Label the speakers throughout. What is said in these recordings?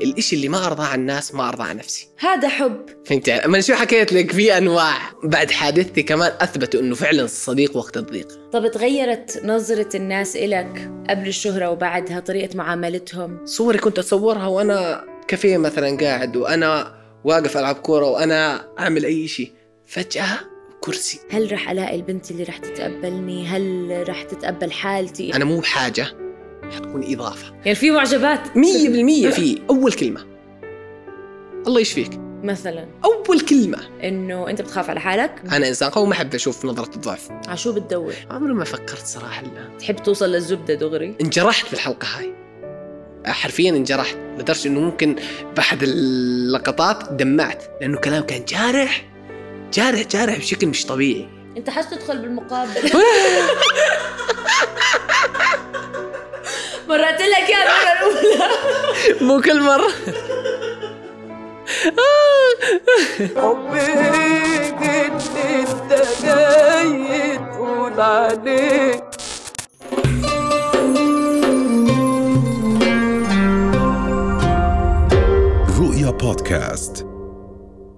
Speaker 1: الإشي اللي ما أرضاه عن الناس ما أرضاه عن نفسي
Speaker 2: هذا حب
Speaker 1: فهمت يعني أما شو حكيت لك في أنواع بعد حادثتي كمان أثبتوا أنه فعلا صديق وقت الضيق
Speaker 2: طب تغيرت نظرة الناس إلك قبل الشهرة وبعدها طريقة معاملتهم
Speaker 1: صوري كنت أتصورها وأنا كافيه مثلا قاعد وأنا واقف ألعب كورة وأنا أعمل أي شيء فجأة كرسي
Speaker 2: هل رح ألاقي البنت اللي رح تتقبلني هل رح تتقبل حالتي
Speaker 1: أنا مو بحاجة حتكون إضافة
Speaker 2: يعني في معجبات
Speaker 1: مية بالمية في أول كلمة الله يشفيك
Speaker 2: مثلا
Speaker 1: أول كلمة
Speaker 2: إنه أنت بتخاف على حالك
Speaker 1: أنا إنسان قوي ما أحب أشوف نظرة الضعف
Speaker 2: عشو بتدور
Speaker 1: عمري ما فكرت صراحة الآن
Speaker 2: تحب توصل للزبدة دغري
Speaker 1: انجرحت في الحلقة هاي حرفيا انجرحت لدرجة انه ممكن بأحد اللقطات دمعت لأنه كلام كان جارح جارح جارح بشكل مش طبيعي
Speaker 2: أنت حاس تدخل بالمقابل مرات لك يا المرة الأولى
Speaker 1: مو كل مرة
Speaker 3: حبك انت جاي تقول عليه
Speaker 4: رؤيا بودكاست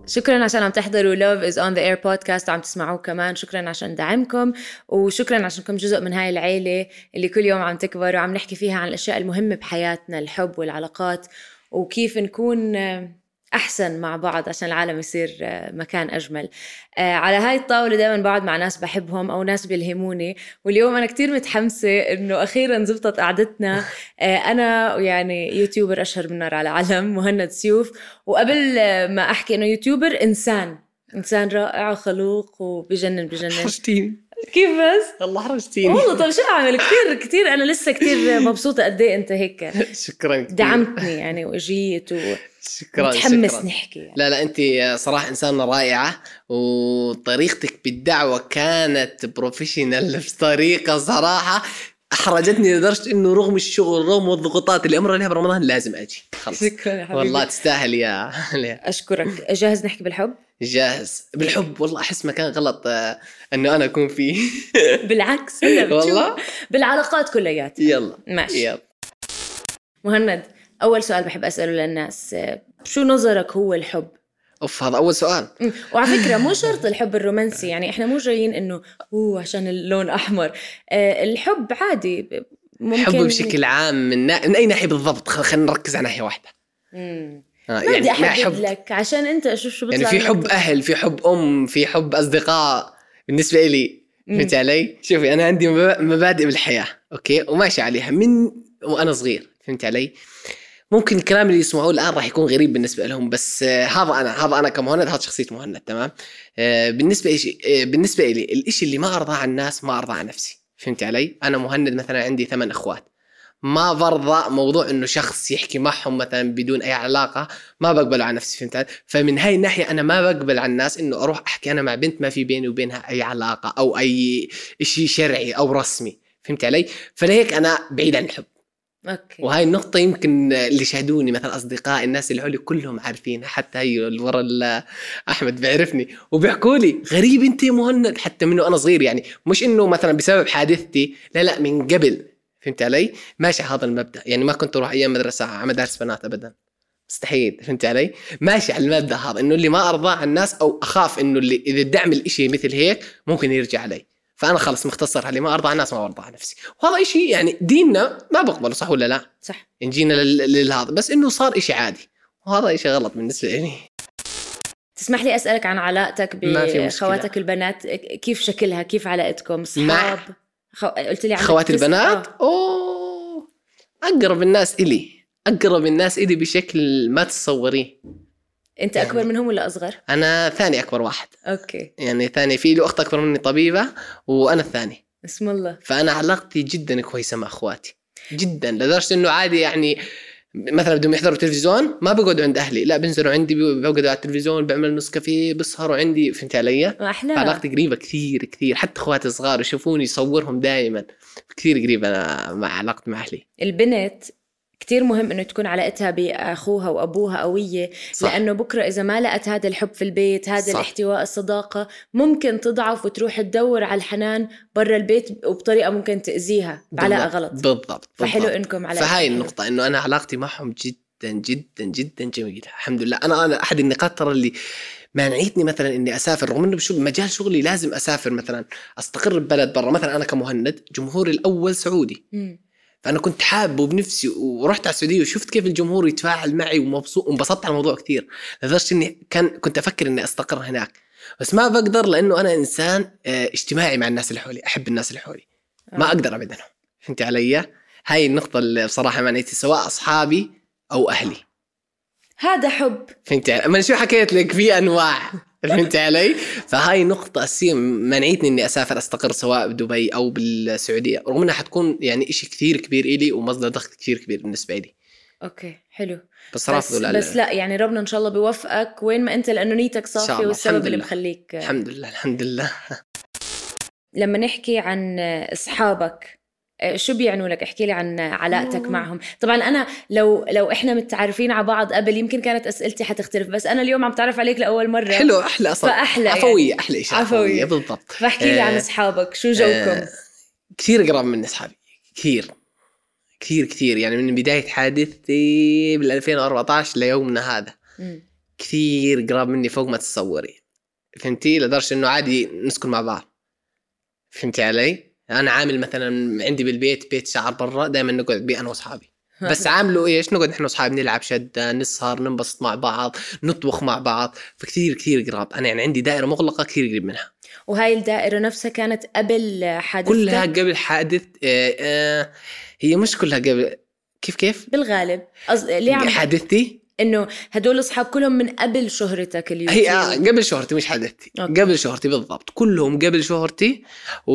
Speaker 2: شكرا عشان عم تحضروا لوف از اون ذا اير بودكاست وعم تسمعوه كمان شكرا عشان دعمكم وشكرا عشانكم جزء من هاي العيله اللي كل يوم عم تكبر وعم نحكي فيها عن الاشياء المهمه بحياتنا الحب والعلاقات وكيف نكون آه، احسن مع بعض عشان العالم يصير آه، مكان اجمل آه، على هاي الطاوله دائما بقعد مع ناس بحبهم او ناس بيلهموني واليوم انا كتير متحمسه انه اخيرا زبطت قعدتنا آه، انا يعني يوتيوبر اشهر من نار على علم مهند سيوف وقبل آه، ما احكي انه يوتيوبر انسان انسان رائع وخلوق وبجنن بجنن
Speaker 1: حرجتيني
Speaker 2: كيف بس
Speaker 1: والله حرجتيني
Speaker 2: والله طب شو اعمل كثير كثير انا لسه كثير مبسوطه قد ايه انت هيك
Speaker 1: شكرا كثير
Speaker 2: دعمتني يعني واجيت ومتحمس
Speaker 1: شكرا شكرا
Speaker 2: نحكي يعني.
Speaker 1: لا لا انت صراحه انسانه رائعه وطريقتك بالدعوه كانت بروفيشنال بطريقه صراحه احرجتني لدرجه انه رغم الشغل رغم الضغوطات اللي امر عليها برمضان لازم اجي خلص
Speaker 2: شكرا يا حبيبي
Speaker 1: والله تستاهل يا يا-
Speaker 2: اشكرك جاهز نحكي بالحب
Speaker 1: جاهز بالحب والله احس مكان غلط آه، انه انا اكون فيه
Speaker 2: بالعكس هلا بتشوف.
Speaker 1: والله؟
Speaker 2: بالعلاقات كلياتها
Speaker 1: يلا
Speaker 2: ماشي
Speaker 1: يلا
Speaker 2: مهند اول سؤال بحب اساله للناس آه، شو نظرك هو الحب
Speaker 1: اوف هذا اول سؤال
Speaker 2: أمم، وعلى فكره مو شرط الحب الرومانسي يعني احنا مو جايين انه اوه عشان اللون احمر آه، الحب عادي ب- ممكن
Speaker 1: حب بشكل عام من, نا... من اي ناحيه بالضبط خل- خلينا نركز على ناحيه واحده
Speaker 2: مم.
Speaker 1: آه
Speaker 2: ما بدي
Speaker 1: ما
Speaker 2: احدد لك عشان انت اشوف شو بيطلع
Speaker 1: يعني في
Speaker 2: منك.
Speaker 1: حب اهل في حب ام في حب اصدقاء بالنسبه لي
Speaker 2: مم.
Speaker 1: فهمت علي؟ شوفي انا عندي مبا- مبادئ بالحياه اوكي وماشي عليها من وانا صغير فهمت علي؟ ممكن الكلام اللي يسمعوه الان راح يكون غريب بالنسبه لهم بس آه، هذا انا هذا انا كمهند هذا شخصيه مهند تمام؟ آه، بالنسبه إشي آه، بالنسبه لي الإشي اللي ما ارضاه عن الناس ما ارضاه عن نفسي فهمت علي؟ انا مهند مثلا عندي ثمان اخوات ما برضى موضوع انه شخص يحكي معهم مثلا بدون اي علاقه ما بقبل على نفسي فهمت علي؟ فمن هاي الناحيه انا ما بقبل على الناس انه اروح احكي انا مع بنت ما في بيني وبينها اي علاقه او اي شيء شرعي او رسمي فهمت علي؟ فلهيك انا بعيد عن الحب
Speaker 2: اوكي
Speaker 1: وهاي النقطة يمكن اللي شاهدوني مثلا أصدقاء الناس اللي حولي كلهم عارفينها حتى هي اللي ورا ال- أحمد بيعرفني وبيحكوا لي غريب أنت يا مهند حتى منه أنا صغير يعني مش إنه مثلا بسبب حادثتي لا لا من قبل فهمت علي؟ ماشي على هذا المبدأ يعني ما كنت أروح أيام مدرسة على مدارس بنات أبدا مستحيل فهمت علي؟ ماشي على المبدأ هذا إنه اللي ما أرضاه على الناس أو أخاف إنه اللي إذا دعم الإشي مثل هيك ممكن يرجع علي فأنا خلص مختصر اللي ما أرضى على الناس ما أرضى على نفسي وهذا إشي يعني ديننا ما بقبله صح ولا لا؟
Speaker 2: صح
Speaker 1: إن جينا لل- للهذا بس انه صار إشي عادي وهذا إشي غلط بالنسبه لي يعني
Speaker 2: تسمح لي اسالك عن علاقتك
Speaker 1: ما في مشكلة.
Speaker 2: بخواتك البنات كيف شكلها كيف علاقتكم
Speaker 1: مع-
Speaker 2: صحاب خو... قلت لي عندك
Speaker 1: خوات
Speaker 2: تس-
Speaker 1: البنات
Speaker 2: آه.
Speaker 1: اوه اقرب الناس الي اقرب الناس الي بشكل ما تتصوريه
Speaker 2: انت اكبر
Speaker 1: يعني-
Speaker 2: منهم ولا اصغر
Speaker 1: انا ثاني اكبر واحد
Speaker 2: اوكي
Speaker 1: يعني ثاني في له اخت اكبر مني طبيبه وانا الثاني
Speaker 2: بسم الله
Speaker 1: فانا علاقتي جدا كويسه مع اخواتي جدا لدرجه انه عادي يعني مثلا بدهم يحضروا تلفزيون ما بقعدوا عند اهلي لا بينزلوا عندي بقعدوا على التلفزيون بعمل نسكافيه بسهروا عندي فهمت علي؟
Speaker 2: احلى
Speaker 1: علاقتي قريبة كثير كثير حتى اخواتي صغار يشوفوني يصورهم دائما كثير قريبة انا مع علاقتي مع اهلي
Speaker 2: البنت كتير مهم انه تكون علاقتها باخوها وابوها قويه صح. لانه بكره اذا ما لقت هذا الحب في البيت هذا
Speaker 1: صح.
Speaker 2: الاحتواء الصداقه ممكن تضعف وتروح تدور على الحنان برا البيت وبطريقه ممكن تاذيها بعلاقه
Speaker 1: بالضبط-
Speaker 2: غلط
Speaker 1: بالضبط
Speaker 2: فحلو
Speaker 1: بالضبط.
Speaker 2: انكم علاقه
Speaker 1: فهاي النقطة انه انا علاقتي معهم جدا جدا جدا جميل الحمد لله انا انا احد النقاط ترى اللي مانعتني مثلا اني اسافر رغم انه بشو مجال شغلي لازم اسافر مثلا استقر ببلد برا مثلا انا كمهند جمهوري الاول سعودي
Speaker 2: مم.
Speaker 1: فانا كنت حابه بنفسي ورحت على السعوديه وشفت كيف الجمهور يتفاعل معي ومبسوط وانبسطت على الموضوع كثير لدرجه اني كان كنت افكر اني استقر هناك بس ما بقدر لانه انا انسان آه، اجتماعي مع الناس اللي حولي احب الناس اللي حولي ما
Speaker 2: آه.
Speaker 1: اقدر ابعد عنهم فهمت علي هاي النقطه اللي بصراحه معنيتي سواء اصحابي او اهلي
Speaker 2: هذا حب
Speaker 1: فهمت علي ما أنا شو حكيت لك في انواع فهمت علي فهاي نقطة أساسية منعتني إني أسافر أستقر سواء بدبي أو بالسعودية رغم إنها حتكون يعني إشي كثير كبير إلي ومصدر دخل كثير كبير بالنسبة لي
Speaker 2: اوكي حلو
Speaker 1: بس
Speaker 2: بس,
Speaker 1: رافضه لا,
Speaker 2: بس
Speaker 1: لا
Speaker 2: لا يعني ربنا ان شاء الله بيوفقك وين ما انت لانه نيتك
Speaker 1: إن شاء
Speaker 2: صافيه
Speaker 1: الله،
Speaker 2: والسبب
Speaker 1: الحمد
Speaker 2: اللي
Speaker 1: لله.
Speaker 2: مخليك
Speaker 1: الحمد لله الحمد لله
Speaker 2: لما نحكي عن اصحابك آه، شو بيعنوا لك احكي لي عن علاقتك معهم طبعا انا لو لو احنا متعرفين على بعض قبل يمكن كانت اسئلتي حتختلف بس انا اليوم عم تعرف عليك لاول مره
Speaker 1: حلو أحلى أصلا
Speaker 2: فأحلى يعني.
Speaker 1: عفوية أحلى إشي
Speaker 2: عفوية.
Speaker 1: عفوية بالضبط
Speaker 2: فاحكي لي عن
Speaker 1: آه،
Speaker 2: اصحابك شو جوكم
Speaker 1: آه، كثير قراب من أصحابي كثير كثير كثير يعني من بداية حادثتي بال 2014 ليومنا هذا
Speaker 2: مم.
Speaker 1: كثير قراب مني فوق ما تتصوري فهمتي لدرجه انه عادي نسكن مع بعض فهمتي علي انا عامل مثلا عندي بالبيت بيت شعر برا دائما نقعد بيه انا واصحابي بس عامله ايش نقعد احنا واصحابي نلعب شده نسهر ننبسط مع بعض نطبخ مع بعض فكثير كثير قراب انا يعني عندي دائره مغلقه كثير قريب منها
Speaker 2: وهاي الدائره نفسها كانت قبل حادثتك
Speaker 1: كلها قبل حادث آه آه هي مش كلها قبل كيف كيف
Speaker 2: بالغالب أص... ليه عم
Speaker 1: حادثتي
Speaker 2: انه هدول اصحاب كلهم من قبل شهرتك اليوتيوب
Speaker 1: هي آه قبل شهرتي مش حدثتي
Speaker 2: أوكي.
Speaker 1: قبل شهرتي بالضبط كلهم قبل شهرتي و...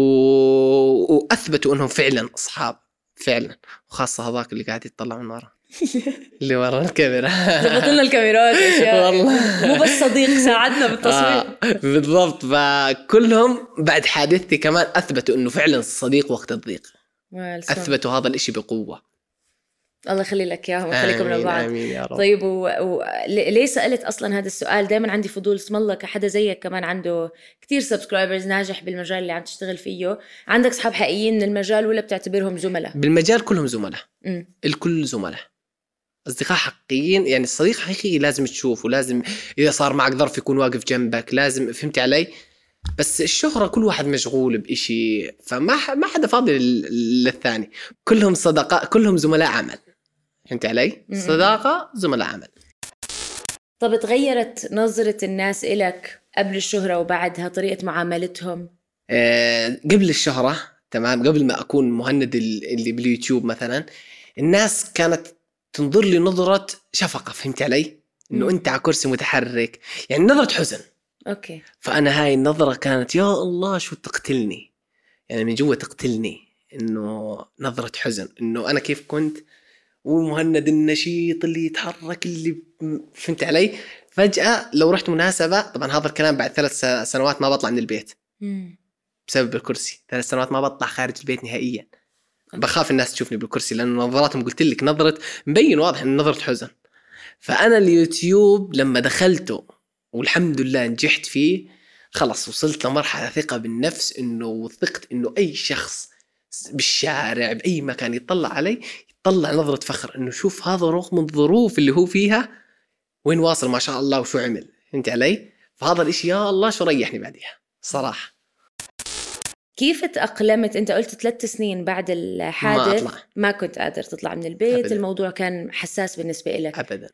Speaker 1: واثبتوا انهم فعلا اصحاب فعلا وخاصه هذاك اللي قاعد يتطلع من ورا اللي ورا الكاميرا
Speaker 2: ظبط لنا الكاميرات وأشياء.
Speaker 1: والله.
Speaker 2: مو بس صديق ساعدنا بالتصوير
Speaker 1: آه بالضبط فكلهم بعد حادثتي كمان اثبتوا انه فعلا الصديق وقت الضيق
Speaker 2: والسلام.
Speaker 1: اثبتوا هذا الاشي بقوه
Speaker 2: الله يخلي لك اياهم ويخليكم
Speaker 1: آمين،
Speaker 2: لبعض
Speaker 1: امين يا رب
Speaker 2: طيب وليه و... ل- ليه سالت اصلا هذا السؤال دائما عندي فضول اسم الله كحدا زيك كمان عنده كتير سبسكرايبرز ناجح بالمجال اللي عم تشتغل فيه عندك اصحاب حقيقيين من المجال ولا بتعتبرهم زملاء
Speaker 1: بالمجال كلهم زملاء
Speaker 2: امم
Speaker 1: الكل زملاء اصدقاء حقيقيين يعني الصديق حقيقي لازم تشوفه لازم اذا صار معك ظرف يكون واقف جنبك لازم فهمت علي بس الشهرة كل واحد مشغول بإشي فما ح- ما حدا فاضي لل- للثاني كلهم صدقاء كلهم زملاء عمل فهمت علي
Speaker 2: م-م.
Speaker 1: صداقة زملاء عمل
Speaker 2: طب تغيرت نظره الناس إلك قبل الشهره وبعدها طريقه معاملتهم
Speaker 1: آه، قبل الشهرة تمام قبل ما أكون مهند ال- اللي باليوتيوب مثلا الناس كانت تنظر لي نظرة شفقة فهمت علي؟
Speaker 2: مم.
Speaker 1: إنه أنت على كرسي متحرك يعني نظرة حزن
Speaker 2: اوكي
Speaker 1: فانا هاي النظره كانت يا الله شو تقتلني يعني من جوا تقتلني انه نظره حزن انه انا كيف كنت والمهند النشيط اللي يتحرك اللي ب- فهمت علي فجاه لو رحت مناسبه طبعا هذا الكلام بعد ثلاث س- سنوات ما بطلع من البيت
Speaker 2: امم
Speaker 1: بسبب الكرسي ثلاث سنوات ما بطلع خارج البيت نهائيا بخاف الناس تشوفني بالكرسي لانه نظراتهم قلت لك نظره مبين واضح ان نظره حزن فانا اليوتيوب لما دخلته والحمد لله نجحت فيه خلص وصلت لمرحله ثقه بالنفس انه وثقت انه اي شخص بالشارع باي مكان يطلع علي يطلع نظره فخر انه شوف هذا رغم الظروف اللي هو فيها وين واصل ما شاء الله وشو عمل فهمت علي فهذا الاشي يا الله شو ريحني بعديها صراحه
Speaker 2: كيف تأقلمت انت قلت ثلاث سنين بعد الحادث
Speaker 1: ما اطلع
Speaker 2: ما كنت قادر تطلع من البيت
Speaker 1: أبداً.
Speaker 2: الموضوع كان حساس بالنسبه لك
Speaker 1: ابدا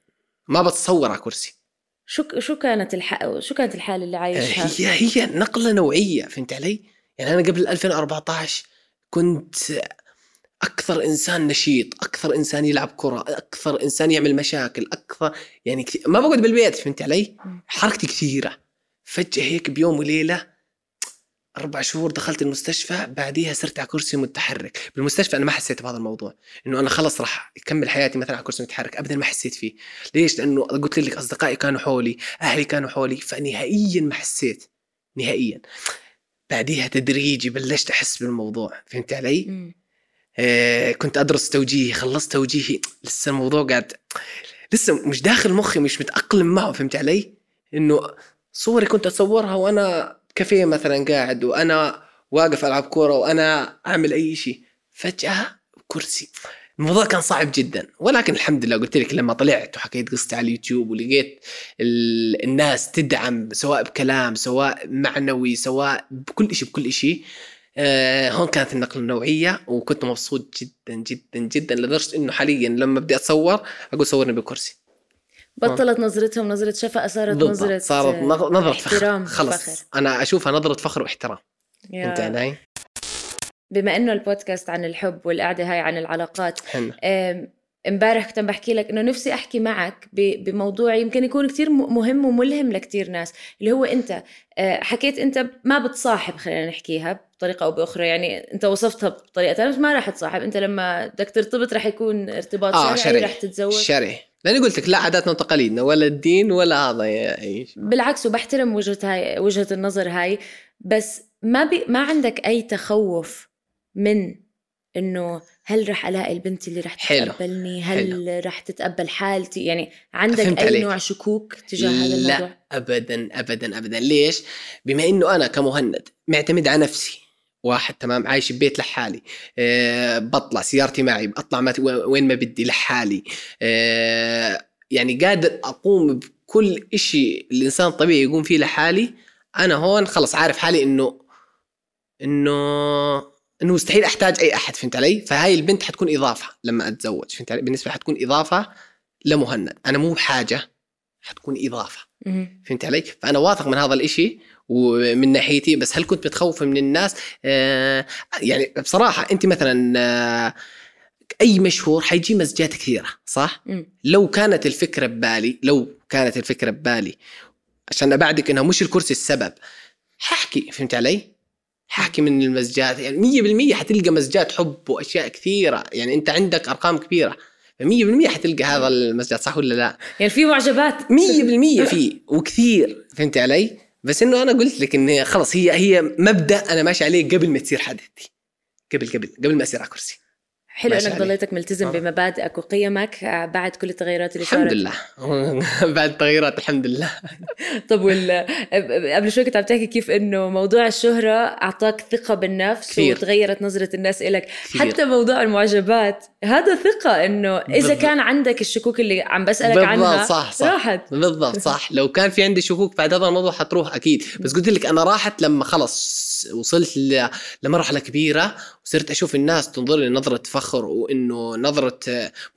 Speaker 1: ما بتصور على كرسي
Speaker 2: شو شو كانت الح... شو كانت الحاله اللي عايشها
Speaker 1: هي آه، هي نقله نوعيه فهمت علي؟ يعني انا قبل 2014 كنت اكثر انسان نشيط، اكثر انسان يلعب كره، اكثر انسان يعمل مشاكل، اكثر يعني كثير ما بقعد بالبيت فهمت علي؟
Speaker 2: مم.
Speaker 1: حركتي كثيره فجاه هيك بيوم وليله اربع شهور دخلت المستشفى بعديها صرت على كرسي متحرك بالمستشفى انا ما حسيت بهذا الموضوع انه انا خلص راح اكمل حياتي مثلا على كرسي متحرك ابدا ما حسيت فيه ليش لانه قلت لك اصدقائي كانوا حولي اهلي كانوا حولي فنهائيا ما حسيت نهائيا بعديها تدريجي بلشت احس بالموضوع فهمت علي
Speaker 2: مم.
Speaker 1: آه كنت ادرس توجيهي خلصت توجيهي لسه الموضوع قاعد لسه مش داخل مخي مش متاقلم معه فهمت علي انه صوري كنت اتصورها وانا كافيه مثلا قاعد وانا واقف العب كوره وانا اعمل اي شيء فجاه كرسي الموضوع كان صعب جدا ولكن الحمد لله قلت لك لما طلعت وحكيت قصتي على اليوتيوب ولقيت ال- الناس تدعم سواء بكلام سواء معنوي سواء بكل شيء بكل شيء آه، هون كانت النقله النوعيه وكنت مبسوط جدا جدا جدا لدرجه انه حاليا لما بدي اتصور اقول صورني بكرسي
Speaker 2: بطلت نظرتهم نظرة شفقة صارت
Speaker 1: بالضبط.
Speaker 2: نظرة
Speaker 1: صارت
Speaker 2: آه،
Speaker 1: نظ- نظره فخر
Speaker 2: احترام
Speaker 1: خلص
Speaker 2: فخر.
Speaker 1: انا اشوفها نظره فخر واحترام
Speaker 2: يا.
Speaker 1: انت علي
Speaker 2: بما انه البودكاست عن الحب والقعدة هاي عن العلاقات
Speaker 1: حنا
Speaker 2: أم، امبارح كنت عم بحكي لك انه نفسي احكي معك ب- بموضوع يمكن يكون كتير م- مهم وملهم لكتير ناس اللي هو انت أه، حكيت انت ما بتصاحب خلينا نحكيها بطريقه او باخرى يعني انت وصفتها بطريقه ثانيه بس ما راح تصاحب انت لما بدك ترتبط راح يكون ارتباط
Speaker 1: آه، شرعي.
Speaker 2: شرعي رح تتزوج
Speaker 1: شرعي لاني قلت لك لا عاداتنا وتقاليدنا ولا الدين ولا هذا يا- اي شيء.
Speaker 2: بالعكس وبحترم وجهه هاي وجهه النظر هاي بس ما بي ما عندك اي تخوف من انه هل رح الاقي البنت اللي رح
Speaker 1: حلو.
Speaker 2: تتقبلني هل رح تتقبل حالتي يعني عندك
Speaker 1: فهمت
Speaker 2: اي
Speaker 1: عليك.
Speaker 2: نوع شكوك تجاه هذا
Speaker 1: لا.
Speaker 2: الموضوع
Speaker 1: ابدا ابدا ابدا ليش؟ بما انه انا كمهند معتمد على نفسي واحد تمام عايش ببيت لحالي أه بطلع سيارتي معي بطلع ما وين ما بدي لحالي أه يعني قادر اقوم بكل إشي الانسان طبيعي يقوم فيه لحالي انا هون خلص عارف حالي انه انه انه مستحيل احتاج اي احد فهمت علي؟ فهاي البنت حتكون اضافه لما اتزوج فهمت علي؟ بالنسبه حتكون اضافه لمهند انا مو بحاجه حتكون اضافه
Speaker 2: مهم.
Speaker 1: فهمت علي؟ فانا واثق من هذا الإشي ومن ناحيتي بس هل كنت متخوف من الناس؟ آه يعني بصراحه انت مثلا آه اي مشهور حيجي مزجات كثيره صح؟
Speaker 2: مم.
Speaker 1: لو كانت الفكره ببالي لو كانت الفكره ببالي عشان ابعدك انها مش الكرسي السبب ححكي فهمت علي؟ ححكي من المزجات يعني 100% حتلقى مزجات حب واشياء كثيره يعني انت عندك ارقام كبيره ف 100% حتلقى هذا المزجات صح ولا لا؟
Speaker 2: يعني في معجبات
Speaker 1: مية بالمية فيه وكثير فهمت علي؟ بس انه انا قلت لك ان خلص هي هي مبدا انا ماشي عليه قبل ما تصير حادثتي قبل قبل قبل ما اصير على كرسي
Speaker 2: حلو
Speaker 1: ماشي
Speaker 2: انك
Speaker 1: عليك.
Speaker 2: ضليتك ملتزم
Speaker 1: آه.
Speaker 2: بمبادئك وقيمك آه، بعد كل التغيرات اللي
Speaker 1: الحمد
Speaker 2: صارت
Speaker 1: لله بعد التغيرات الحمد لله
Speaker 2: طب وال آه، قبل شوي كنت عم تحكي كيف انه موضوع الشهرة اعطاك ثقة بالنفس
Speaker 1: كثير.
Speaker 2: كثير. وتغيرت نظرة الناس إلك
Speaker 1: كثير.
Speaker 2: حتى موضوع المعجبات هذا ثقة انه اذا
Speaker 1: بالضبط.
Speaker 2: كان عندك الشكوك اللي عم بسألك
Speaker 1: بالضبط،
Speaker 2: عنها
Speaker 1: صح، صح.
Speaker 2: راحت
Speaker 1: بالضبط صح لو كان في عندي شكوك بعد هذا الموضوع حتروح اكيد بس قلت لك انا راحت لما خلص وصلت ل- لمرحله كبيره وصرت اشوف الناس تنظر لي نظره فخر وانه نظره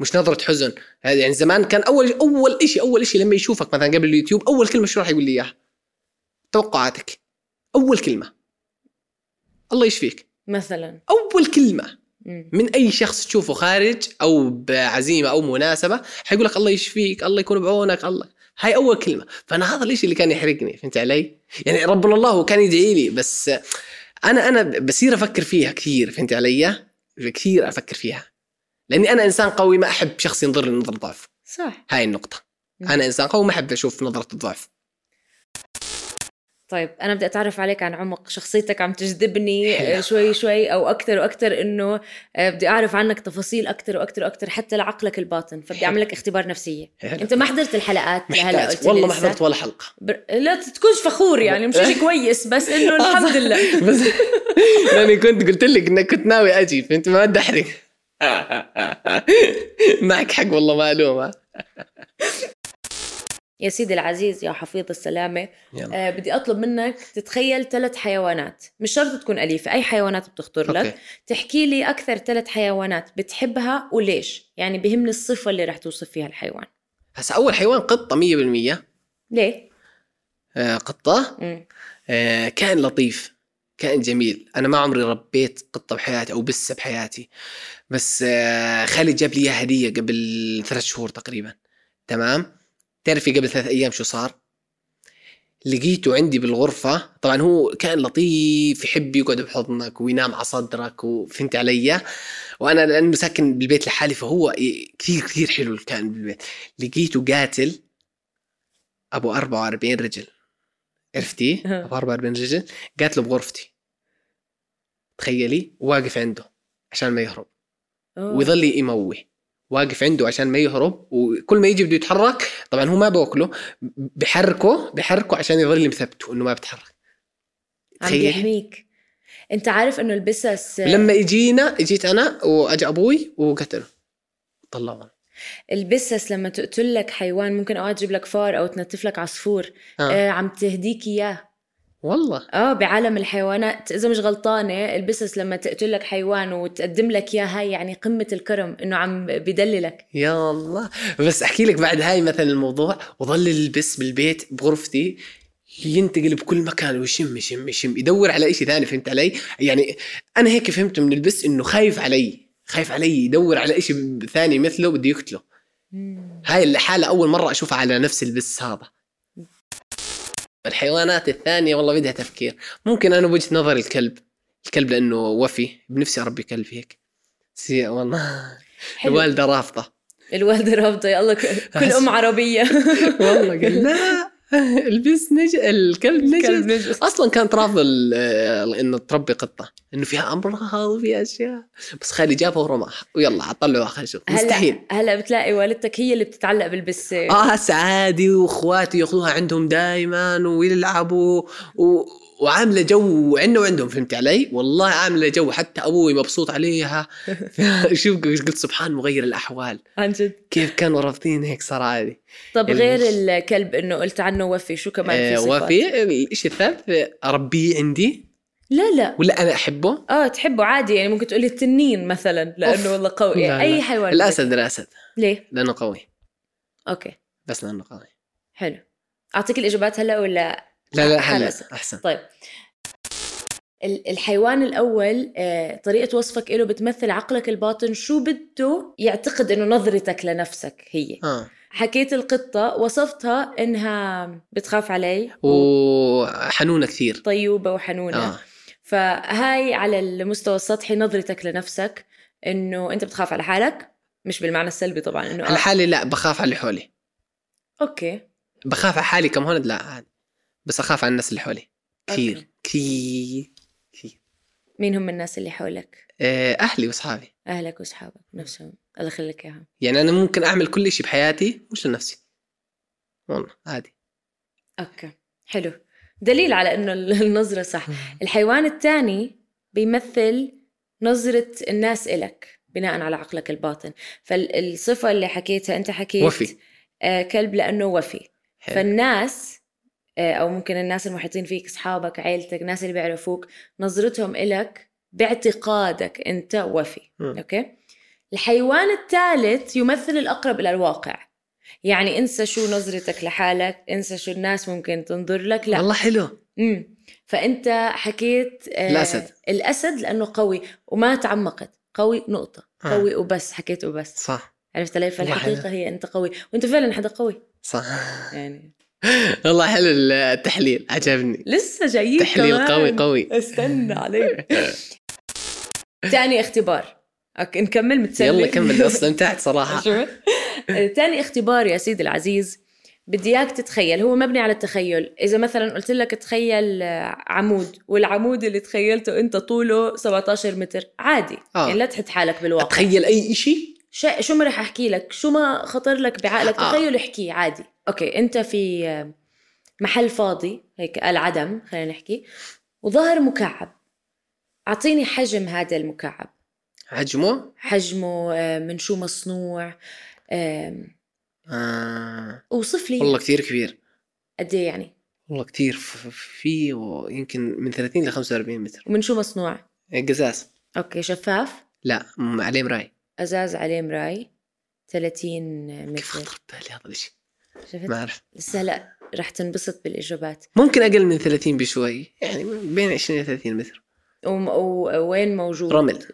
Speaker 1: مش نظره حزن هذا يعني زمان كان اول اول شيء اول شيء لما يشوفك مثلا قبل اليوتيوب اول كلمه شو راح يقول لي اياها توقعاتك اول كلمه الله يشفيك
Speaker 2: مثلا
Speaker 1: اول كلمه
Speaker 2: مم.
Speaker 1: من اي شخص تشوفه خارج او بعزيمه او مناسبه حيقول لك الله يشفيك الله يكون بعونك الله هاي اول كلمه فانا هذا الشيء اللي كان يحرقني فهمت علي يعني ربنا الله هو كان يدعي لي بس انا انا بصير افكر فيها كثير فهمت علي كثير افكر فيها لاني انا انسان قوي ما احب شخص ينظر لي نظر ضعف
Speaker 2: صح
Speaker 1: هاي النقطه انا انسان قوي ما احب اشوف نظره الضعف
Speaker 2: طيب انا بدي اتعرف عليك عن عمق شخصيتك عم تجذبني
Speaker 1: حلو.
Speaker 2: آه، شوي شوي او اكثر واكثر انه آه، بدي اعرف عنك تفاصيل اكثر واكثر واكثر حتى لعقلك الباطن فبدي اعمل لك اختبار نفسية انت ما حضرت الحلقات لهلا قلت
Speaker 1: محتاج
Speaker 2: لي
Speaker 1: والله ما
Speaker 2: لسه.
Speaker 1: حضرت ولا حلقه
Speaker 2: بر... لا تكونش فخور يعني مش شيء كويس بس
Speaker 1: آه،
Speaker 2: انه الحمد لله
Speaker 1: بس لاني كنت قلت لك انك كنت ناوي اجي فانت ما بدي احرق معك حق والله ما الومها
Speaker 2: يا سيدي العزيز يا حفيظ السلامه
Speaker 1: يلا.
Speaker 2: آه بدي اطلب منك تتخيل ثلاث حيوانات مش شرط تكون اليفه اي حيوانات بتخطر لك
Speaker 1: أوكي.
Speaker 2: تحكي لي اكثر ثلاث حيوانات بتحبها وليش يعني بهمني الصفه اللي رح توصف فيها الحيوان
Speaker 1: هسا اول حيوان قطه 100%
Speaker 2: ليه
Speaker 1: آه، قطه
Speaker 2: مم.
Speaker 1: آه، كائن لطيف كائن جميل انا ما عمري ربيت قطه بحياتي او بسه بحياتي بس آه، خالي جاب لي إياها هديه قبل ثلاث شهور تقريبا تمام تعرفي قبل ثلاث ايام شو صار لقيته عندي بالغرفة طبعا هو كائن لطيف يحب يقعد بحضنك وينام على صدرك وفهمت علي وأنا لأنه ساكن بالبيت لحالي فهو ي- كثير كثير حلو الكائن بالبيت لقيته قاتل أبو 44 رجل عرفتي أبو 44 رجل قاتله بغرفتي تخيلي واقف عنده عشان ما يهرب
Speaker 2: أوه.
Speaker 1: ويظل يموي واقف عنده عشان ما يهرب وكل ما يجي بده يتحرك طبعا هو ما باكله بحركه بحركه عشان يظل مثبته انه ما بتحرك
Speaker 2: عم
Speaker 1: تخيلي.
Speaker 2: بيحميك انت عارف انه البسس
Speaker 1: لما اجينا اجيت انا واجى ابوي وقتله طلعوا
Speaker 2: البسس لما تقتل لك حيوان ممكن اوقات تجيب لك فار او تنتف لك عصفور
Speaker 1: آه.
Speaker 2: آه. عم تهديك اياه
Speaker 1: والله
Speaker 2: اه بعالم الحيوانات اذا مش غلطانه البسس لما تقتل لك حيوان وتقدم لك اياه هاي يعني قمه الكرم انه عم بدللك
Speaker 1: يا الله بس احكي لك بعد هاي مثلا الموضوع وظل البس بالبيت بغرفتي ينتقل بكل مكان ويشم يشم يشم يدور على شيء ثاني فهمت علي؟ يعني انا هيك فهمت من البس انه خايف علي خايف علي يدور على شيء ثاني مثله بده يقتله هاي الحالة أول مرة أشوفها على نفس البس هذا الحيوانات الثانية والله بدها تفكير ممكن أنا بوجهة نظري الكلب الكلب لأنه وفي بنفسي أربي كلب هيك سي والله
Speaker 2: حلو.
Speaker 1: الوالدة رافضة
Speaker 2: الوالده رابطه يا الله ك- كل ام عربيه
Speaker 1: والله قال لا البس نج... الكلب نجس
Speaker 2: نجس
Speaker 1: اصلا كانت رافضه ال- ال- انه آه، تربي قطه انه فيها امراض وفيها اشياء بس خالي جابها ورماها ويلا طلعوها خلينا نشوف مستحيل
Speaker 2: هلا هلا بتلاقي والدتك هي اللي بتتعلق بالبسه
Speaker 1: اه هسه عادي واخواتي ياخذوها عندهم دائما ويلعبوا و... وعامله جو عندنا وعندهم فهمت علي؟ والله عامله جو حتى ابوي مبسوط عليها شوف قلت سبحان مغير الاحوال
Speaker 2: عن جد
Speaker 1: كيف كانوا رافضين هيك صار عادي
Speaker 2: طب
Speaker 1: ال-
Speaker 2: غير الكلب انه قلت عنه وفي شو كمان
Speaker 1: آه،
Speaker 2: في صفات
Speaker 1: وفي الشيء الثالث اربيه عندي
Speaker 2: لا لا
Speaker 1: ولا انا احبه
Speaker 2: اه تحبه عادي يعني ممكن تقولي التنين مثلا
Speaker 1: أوف.
Speaker 2: لانه والله قوي
Speaker 1: لا، لا.
Speaker 2: اي حيوان
Speaker 1: الاسد الاسد
Speaker 2: ليه
Speaker 1: لانه قوي
Speaker 2: اوكي
Speaker 1: بس لانه قوي
Speaker 2: حلو اعطيك الاجابات هلا ولا
Speaker 1: لا لا
Speaker 2: أحلى
Speaker 1: هلا
Speaker 2: أسد.
Speaker 1: احسن
Speaker 2: طيب ال- الحيوان الاول آه، طريقه وصفك له بتمثل عقلك الباطن شو بده يعتقد انه نظرتك لنفسك هي
Speaker 1: اه
Speaker 2: حكيت القطه وصفتها انها بتخاف علي
Speaker 1: وحنونه كثير
Speaker 2: طيوبه وحنونه
Speaker 1: اه
Speaker 2: فهاي على المستوى السطحي نظرتك لنفسك انه انت بتخاف على حالك مش بالمعنى السلبي طبعا انه
Speaker 1: على
Speaker 2: آه،
Speaker 1: حالي لا بخاف على اللي حولي
Speaker 2: اوكي
Speaker 1: بخاف على حالي كم هون لا عادي بس اخاف على الناس اللي حولي كثير
Speaker 2: أوكي.
Speaker 1: كثير كثير
Speaker 2: مين هم الناس اللي حولك
Speaker 1: آه، اهلي واصحابي
Speaker 2: اهلك واصحابك نفسهم الله يخليك اياهم
Speaker 1: يعني انا ممكن اعمل كل شيء بحياتي مش لنفسي والله عادي
Speaker 2: اوكي حلو دليل على انه ال- النظره صح الحيوان الثاني بيمثل نظره الناس إلك بناء على عقلك الباطن فالصفه اللي حكيتها انت حكيت
Speaker 1: وفي.
Speaker 2: آه كلب لانه وفي
Speaker 1: حلو.
Speaker 2: فالناس آه، او ممكن الناس المحيطين فيك اصحابك عائلتك الناس اللي بيعرفوك نظرتهم إلك باعتقادك انت وفي
Speaker 1: مم.
Speaker 2: اوكي الحيوان الثالث يمثل الاقرب الى الواقع يعني انسى شو نظرتك لحالك انسى شو الناس ممكن تنظر لك لا
Speaker 1: والله حلو
Speaker 2: امم فانت حكيت آه،
Speaker 1: الأسد.
Speaker 2: الاسد لانه قوي وما تعمقت قوي نقطه
Speaker 1: آه.
Speaker 2: قوي وبس حكيت وبس
Speaker 1: صح
Speaker 2: عرفت علي فالحقيقه
Speaker 1: حلو.
Speaker 2: هي انت قوي وانت فعلا حدا قوي
Speaker 1: صح
Speaker 2: يعني
Speaker 1: والله حلو التحليل عجبني
Speaker 2: لسه جايين
Speaker 1: تحليل
Speaker 2: كمان.
Speaker 1: قوي قوي
Speaker 2: استنى عليك تاني اختبار اوكي نكمل متسلي
Speaker 1: يلا كمل استمتعت صراحه
Speaker 2: شو؟ آه، تاني اختبار يا سيدي العزيز بدي اياك تتخيل هو مبني على التخيل اذا مثلا قلت لك تخيل آه، عمود والعمود اللي تخيلته انت طوله 17 متر عادي
Speaker 1: آه.
Speaker 2: آه. يعني لا تحط حالك بالواقع
Speaker 1: اتخيل اي شيء
Speaker 2: شيء شو ما رح احكي لك شو ما خطر لك بعقلك
Speaker 1: آه.
Speaker 2: تخيل احكيه عادي اوكي انت في آه، محل فاضي هيك العدم خلينا نحكي وظهر مكعب اعطيني حجم هذا المكعب
Speaker 1: حجمه
Speaker 2: حجمه آه، من شو مصنوع آم،
Speaker 1: آه.
Speaker 2: اوصف لي
Speaker 1: والله كثير كبير
Speaker 2: قد ايه يعني
Speaker 1: والله كثير في يمكن من 30 ل 45 متر إيه،
Speaker 2: ومن شو مصنوع
Speaker 1: قزاز
Speaker 2: اوكي شفاف
Speaker 1: لا م- عليه مراي
Speaker 2: ازاز عليه مراي 30
Speaker 1: كيف
Speaker 2: متر
Speaker 1: خطر ببالي هذا الشيء ما
Speaker 2: شفت
Speaker 1: اعرف
Speaker 2: لسه هلا رح تنبسط بالاجابات
Speaker 1: ممكن اقل من 30 بشوي يعني بين 20 ل 30 متر
Speaker 2: وم- و- ووين موجود
Speaker 1: رمل.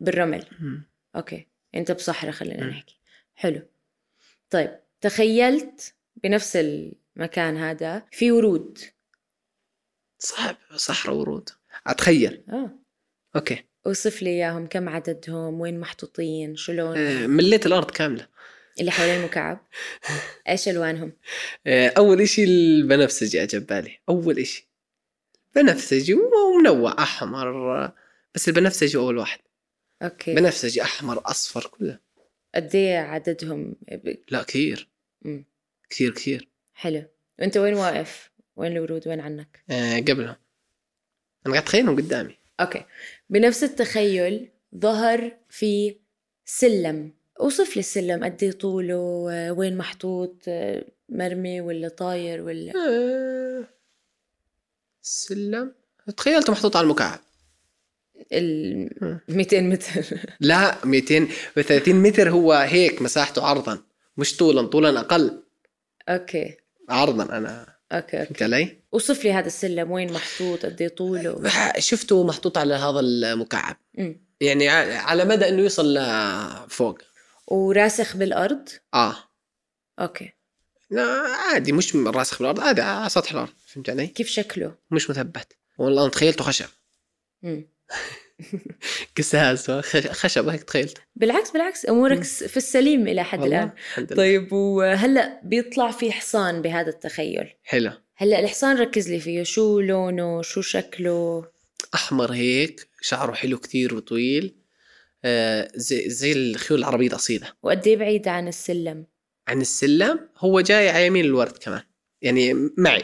Speaker 2: بالرمل
Speaker 1: مم.
Speaker 2: اوكي انت بصحراء خلينا
Speaker 1: مم.
Speaker 2: نحكي حلو طيب تخيلت بنفس المكان هذا في ورود
Speaker 1: صعب صحراء ورود اتخيل
Speaker 2: اه
Speaker 1: اوكي
Speaker 2: اوصف لي اياهم كم عددهم وين محطوطين شو
Speaker 1: آه،
Speaker 2: لون
Speaker 1: مليت الارض كامله
Speaker 2: اللي حوالين المكعب ايش الوانهم
Speaker 1: آه، اول إشي البنفسجي اجى ببالي اول إشي بنفسجي ومنوع احمر بس البنفسجي اول واحد
Speaker 2: اوكي
Speaker 1: بنفسجي احمر اصفر كله
Speaker 2: قد ايه عددهم ب-
Speaker 1: لا كثير
Speaker 2: مم.
Speaker 1: كثير كثير
Speaker 2: حلو وانت وين واقف وين الورود وين عنك
Speaker 1: آه، قبلهم انا قاعد اتخيلهم قدامي
Speaker 2: اوكي بنفس التخيل ظهر في سلم اوصف لي السلم قد ايه طوله آه، وين محطوط آه، مرمي ولا طاير ولا
Speaker 1: آه، سلم تخيلته محطوط على المكعب
Speaker 2: ال 200 متر
Speaker 1: لا 230 متر هو هيك مساحته عرضا مش طولا طولا اقل
Speaker 2: اوكي
Speaker 1: عرضا انا
Speaker 2: اوكي اوكي
Speaker 1: فهمت علي؟
Speaker 2: اوصف لي هذا السلم وين محطوط قد ايه طوله
Speaker 1: شفته محطوط على هذا المكعب
Speaker 2: أمم.
Speaker 1: يعني ع- على مدى انه يوصل لفوق
Speaker 2: وراسخ بالارض
Speaker 1: اه
Speaker 2: اوكي
Speaker 1: لا عادي مش راسخ بالارض عادي على سطح الارض فهمت علي؟
Speaker 2: كيف شكله
Speaker 1: مش مثبت والله انا تخيلته خشب
Speaker 2: أمم.
Speaker 1: قساس خ- خشب هيك تخيلته
Speaker 2: بالعكس بالعكس امورك
Speaker 1: أمم.
Speaker 2: س- في السليم الى حد
Speaker 1: والله
Speaker 2: الان
Speaker 1: الحمد لله.
Speaker 2: طيب وهلا بيطلع في حصان بهذا التخيل
Speaker 1: حلو
Speaker 2: هلا الحصان ركز لي فيه شو لونه شو شكله
Speaker 1: احمر هيك شعره حلو كتير وطويل آه زي زي الخيول العربيه الاصيله
Speaker 2: وقد ايه بعيد عن السلم
Speaker 1: عن السلم هو جاي على يمين الورد كمان يعني معي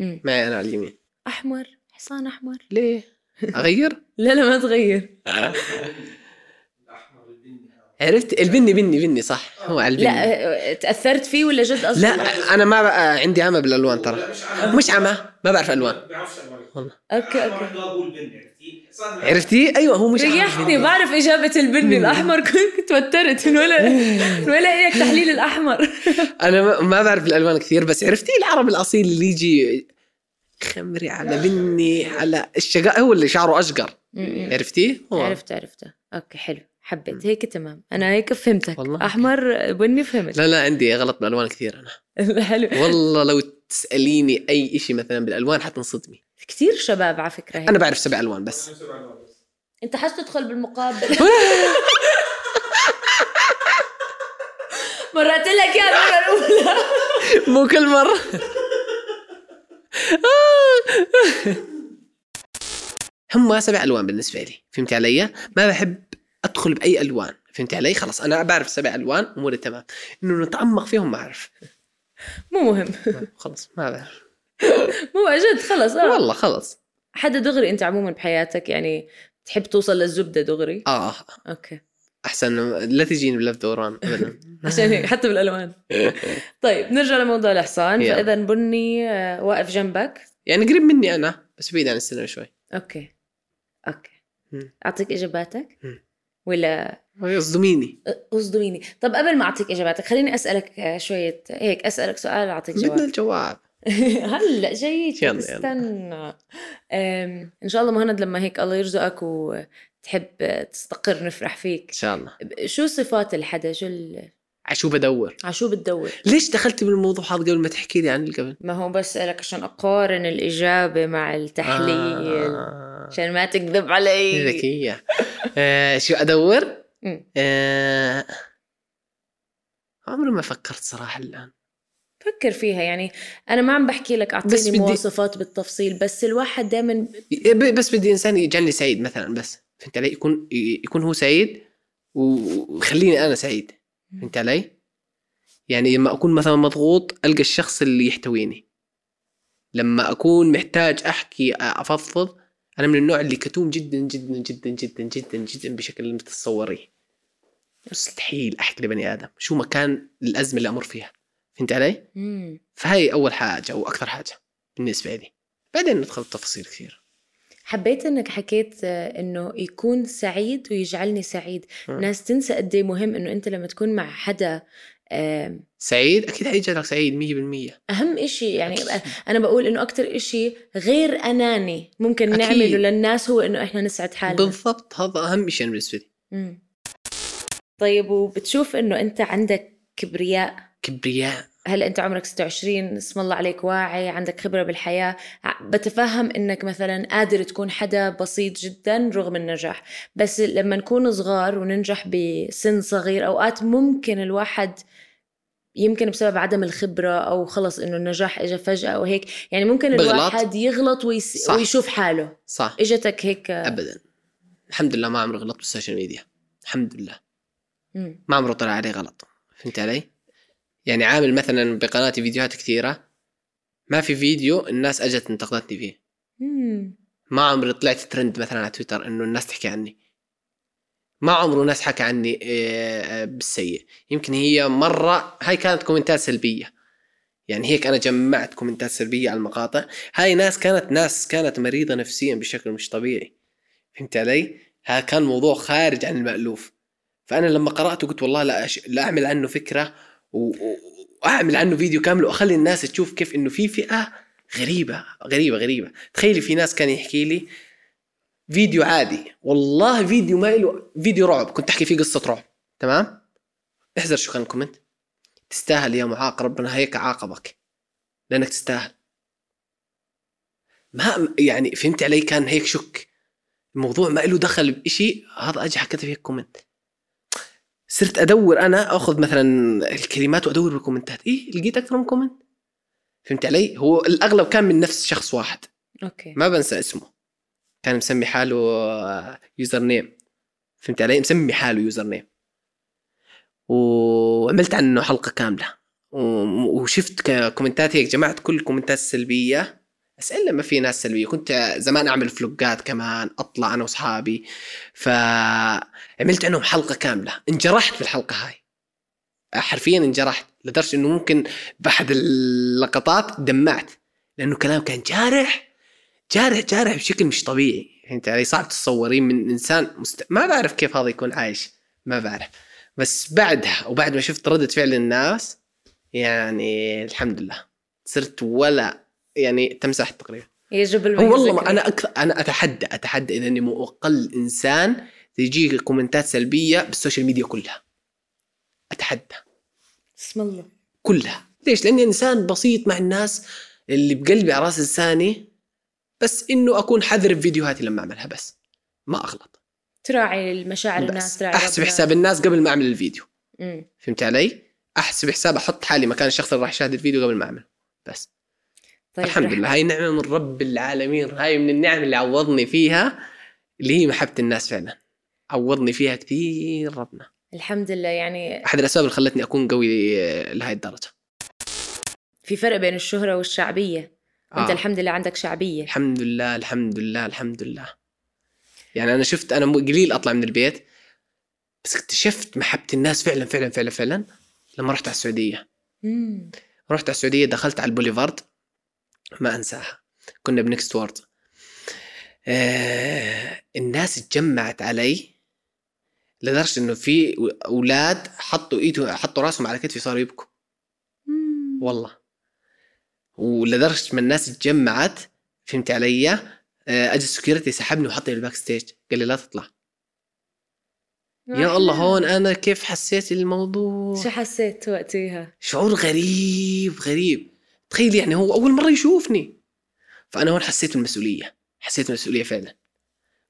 Speaker 2: أمم.
Speaker 1: معي انا على اليمين
Speaker 2: احمر حصان احمر
Speaker 1: ليه اغير
Speaker 2: لا لا ما تغير
Speaker 1: آه. عرفت البني بني بني صح هو على البني
Speaker 2: لا آه، تاثرت فيه ولا جد قصدي
Speaker 1: لا انا ما بقى عندي عمى بالالوان ترى مش عمى ما بعرف الوان
Speaker 5: ما بعرفش الوان
Speaker 2: اوكي
Speaker 5: ما
Speaker 2: اوكي
Speaker 5: بحب اقول بني عرفتي صار
Speaker 1: عرفتي ايوه هو مش عمى.
Speaker 2: ريحتني بعرف إجابة البني الأحمر كنت توترت من ولا من ولا إلك تحليل الأحمر
Speaker 1: انا ما- ما بعرف الالوان كثير بس عرفتي العرب الاصيل اللي يجي خمري على بني على الشقاء هو اللي شعره اشقر عرفتي هو
Speaker 2: عرفت عرفت أوكي حلو حبيت هيك تمام أنا هيك فهمتك
Speaker 1: والله.
Speaker 2: أحمر بني فهمت
Speaker 1: لا لا عندي غلط بالالوان كثير انا
Speaker 2: حلو
Speaker 1: والله لو تساليني اي شيء مثلا بالالوان حتنصدمي
Speaker 2: كثير شباب على فكرة هيك
Speaker 1: انا بعرف سبع الوان بس
Speaker 2: أنت حاس تدخل بالمقابل مرات لك يا المرة الأولى
Speaker 1: مو كل مره هم سبع الوان بالنسبه لي فهمت علي ما بحب ادخل باي الوان فهمت علي خلاص انا بعرف سبع الوان اموري تمام انه نتعمق فيهم ما اعرف
Speaker 2: مو مهم
Speaker 1: خلص ما بعرف
Speaker 2: مو جد خلص آه.
Speaker 1: والله خلص
Speaker 2: حدا دغري أنت عموما بحياتك يعني تحب توصل للزبدة دغري
Speaker 1: اه
Speaker 2: أوكي
Speaker 1: احسن لا تجيني بلف دوران ابدا
Speaker 2: عشان هيك حتى بالالوان طيب نرجع لموضوع الحصان
Speaker 1: يلا.
Speaker 2: فاذا بني آه، واقف جنبك
Speaker 1: يعني قريب مني انا بس بعيد عن السينما شوي
Speaker 2: اوكي اوكي
Speaker 1: مم.
Speaker 2: اعطيك اجاباتك
Speaker 1: مم.
Speaker 2: ولا
Speaker 1: يصدميني
Speaker 2: اصدميني طب قبل ما اعطيك اجاباتك خليني اسالك آه، شويه هيك اسالك سؤال واعطيك
Speaker 1: بدنا
Speaker 2: جواب
Speaker 1: الجواب
Speaker 2: هلا جايك
Speaker 1: يلا، يلا.
Speaker 2: استنى أم، ان شاء الله مهند لما هيك الله يرزقك وتحب آه، تستقر نفرح فيك
Speaker 1: ان شاء الله
Speaker 2: ب- شو صفات الحدا شو ال...
Speaker 1: عشو بدور
Speaker 2: عشو بتدور
Speaker 1: ليش دخلتي بالموضوع هذا قبل ما تحكي لي عن اللي قبل
Speaker 2: ما هو بسألك عشان أقارن الإجابة مع التحليل
Speaker 1: آه.
Speaker 2: عشان ما تكذب علي
Speaker 1: ذكية آه شو أدور؟
Speaker 2: مم.
Speaker 1: آه عمري ما فكرت صراحة الآن
Speaker 2: فكر فيها يعني أنا ما عم بحكي لك
Speaker 1: بس
Speaker 2: أعطيني
Speaker 1: بدي-
Speaker 2: مواصفات بالتفصيل بس الواحد دائما
Speaker 1: إيه، ب- بس بدي إنسان يجعلني سعيد مثلا بس فهمت علي؟ يكون يكون هو سعيد و- ويخليني أنا سعيد فهمت علي؟ يعني لما أكون مثلا مضغوط ألقى الشخص اللي يحتويني لما أكون محتاج أحكي أفضفض أنا من النوع اللي كتوم جدا جدا جدا جدا جدا جدا بشكل اللي متتصوريه مستحيل احكي لبني ادم شو مكان الازمه اللي امر فيها فهمت علي؟
Speaker 2: مم.
Speaker 1: فهي اول حاجه واكثر حاجه بالنسبه لي بعدين ندخل بتفاصيل كثير
Speaker 2: حبيت انك حكيت آه، انه يكون سعيد ويجعلني سعيد
Speaker 1: مم.
Speaker 2: ناس تنسى قد إيه مهم انه انت لما تكون مع حدا آه،
Speaker 1: سعيد اكيد حيجعلك سعيد 100%
Speaker 2: اهم إشي يعني انا بقول انه اكتر إشي غير اناني ممكن
Speaker 1: أكيد.
Speaker 2: نعمله للناس هو انه احنا نسعد حالنا
Speaker 1: بالضبط هذا اهم شيء بالنسبه لي
Speaker 2: مم. طيب وبتشوف انه انت عندك كبرياء
Speaker 1: كبرياء
Speaker 2: هلا انت عمرك 26 اسم الله عليك واعي عندك خبره بالحياه ع- بتفهم انك مثلا قادر تكون حدا بسيط جدا رغم النجاح بس لما نكون صغار وننجح بسن صغير اوقات ممكن الواحد يمكن بسبب عدم الخبره او خلص انه النجاح اجى فجاه او هيك يعني ممكن
Speaker 1: بغلط.
Speaker 2: الواحد يغلط ويس...
Speaker 1: صح.
Speaker 2: ويشوف حاله
Speaker 1: صح
Speaker 2: اجتك هيك
Speaker 1: ابدا الحمد لله ما عمري غلطت بالسوشيال ميديا الحمد لله
Speaker 2: مم.
Speaker 1: ما عمره طلع علي غلط فهمت علي؟ يعني عامل مثلا بقناتي فيديوهات كثيره ما في فيديو الناس اجت انتقدتني فيه
Speaker 2: مم.
Speaker 1: ما عمري طلعت ترند مثلا على تويتر انه الناس تحكي عني ما عمره ناس حكى عني آه، آه، بالسيء يمكن هي مرة هاي كانت كومنتات سلبية يعني هيك أنا جمعت كومنتات سلبية على المقاطع هاي ناس كانت ناس كانت مريضة نفسيا بشكل مش طبيعي فهمت علي؟ ها كان موضوع خارج عن المألوف فأنا لما قرأته قلت والله لا أش... لا أعمل عنه فكرة و... و- وأعمل عنه فيديو كامل وأخلي الناس تشوف كيف إنه في فئة غريبة غريبة غريبة تخيلي في ناس كان يحكي لي فيديو عادي والله فيديو ما له فيديو رعب كنت احكي فيه قصه رعب تمام احذر شو كان الكومنت تستاهل يا معاق ربنا هيك عاقبك لانك تستاهل ما يعني فهمت علي كان هيك شك الموضوع ما له دخل بشيء هذا اجى حكيت فيه كومنت صرت ادور انا اخذ مثلا الكلمات وادور بالكومنتات ايه لقيت اكثر من كومنت فهمت علي هو الاغلب كان من نفس شخص واحد
Speaker 2: اوكي
Speaker 1: إيه. ما بنسى اسمه كان مسمي حاله آه، يوزر نيم فهمت علي مسمي حاله يوزر نيم وعملت عنه حلقه كامله و- وشفت ك- كومنتات هيك جمعت كل الكومنتات السلبيه بس الا ما في ناس سلبيه كنت زمان اعمل فلوجات كمان اطلع انا واصحابي فعملت عنهم حلقه كامله انجرحت في الحلقه هاي حرفيا انجرحت لدرجه انه ممكن باحد اللقطات دمعت لانه كلام كان جارح جارح جارح بشكل مش طبيعي فهمت علي صعب تتصورين من انسان مست... ما بعرف كيف هذا يكون عايش ما بعرف بس بعدها وبعد ما شفت ردة فعل الناس يعني الحمد لله صرت ولا يعني تمسحت تقريبا
Speaker 2: يجب
Speaker 1: هو
Speaker 2: الميز
Speaker 1: والله ما انا اكثر انا اتحدى اتحدى اذا اني مو اقل انسان تجيك كومنتات سلبيه بالسوشيال ميديا كلها اتحدى
Speaker 2: بسم الله
Speaker 1: كلها ليش لاني انسان بسيط مع الناس اللي بقلبي على راس لساني بس انه اكون حذر بفيديوهاتي لما اعملها بس ما اغلط
Speaker 2: تراعي المشاعر الناس
Speaker 1: بس
Speaker 2: تراعي
Speaker 1: احسب
Speaker 2: ربنا.
Speaker 1: حساب الناس قبل ما اعمل الفيديو
Speaker 2: أمم.
Speaker 1: فهمت علي احسب حساب احط حالي مكان الشخص اللي راح يشاهد الفيديو قبل ما اعمله بس
Speaker 2: طيب
Speaker 1: الحمد
Speaker 2: رح-
Speaker 1: لله هاي نعمه من رب العالمين هاي من النعم اللي عوضني فيها اللي هي محبه الناس فعلا عوضني فيها كثير ربنا
Speaker 2: الحمد لله يعني
Speaker 1: احد الاسباب اللي خلتني اكون قوي لهي الدرجه
Speaker 2: في فرق بين الشهرة والشعبية انت
Speaker 1: آه.
Speaker 2: الحمد لله عندك شعبية
Speaker 1: الحمد لله الحمد لله الحمد لله يعني انا شفت انا مو- قليل اطلع من البيت بس اكتشفت محبه الناس فعلا فعلا فعلا فعلا لما رحت على السعوديه
Speaker 2: أمم.
Speaker 1: رحت على السعوديه دخلت على البوليفارد ما انساها كنا بنكست وورد آه الناس اتجمعت علي لدرجه انه في اولاد حطوا ايده حطوا راسهم على كتفي صاروا يبكوا
Speaker 2: أمم.
Speaker 1: والله ولدرجه ما الناس اتجمعت فهمت علي آه، اجى السكيورتي سحبني وحطني بالباك ستيج قال لي لا تطلع يا الله هون انا كيف حسيت الموضوع
Speaker 2: شو حسيت وقتيها؟
Speaker 1: شعور غريب غريب تخيل يعني هو اول مره يشوفني فانا هون حسيت بالمسؤوليه حسيت بالمسؤوليه فعلا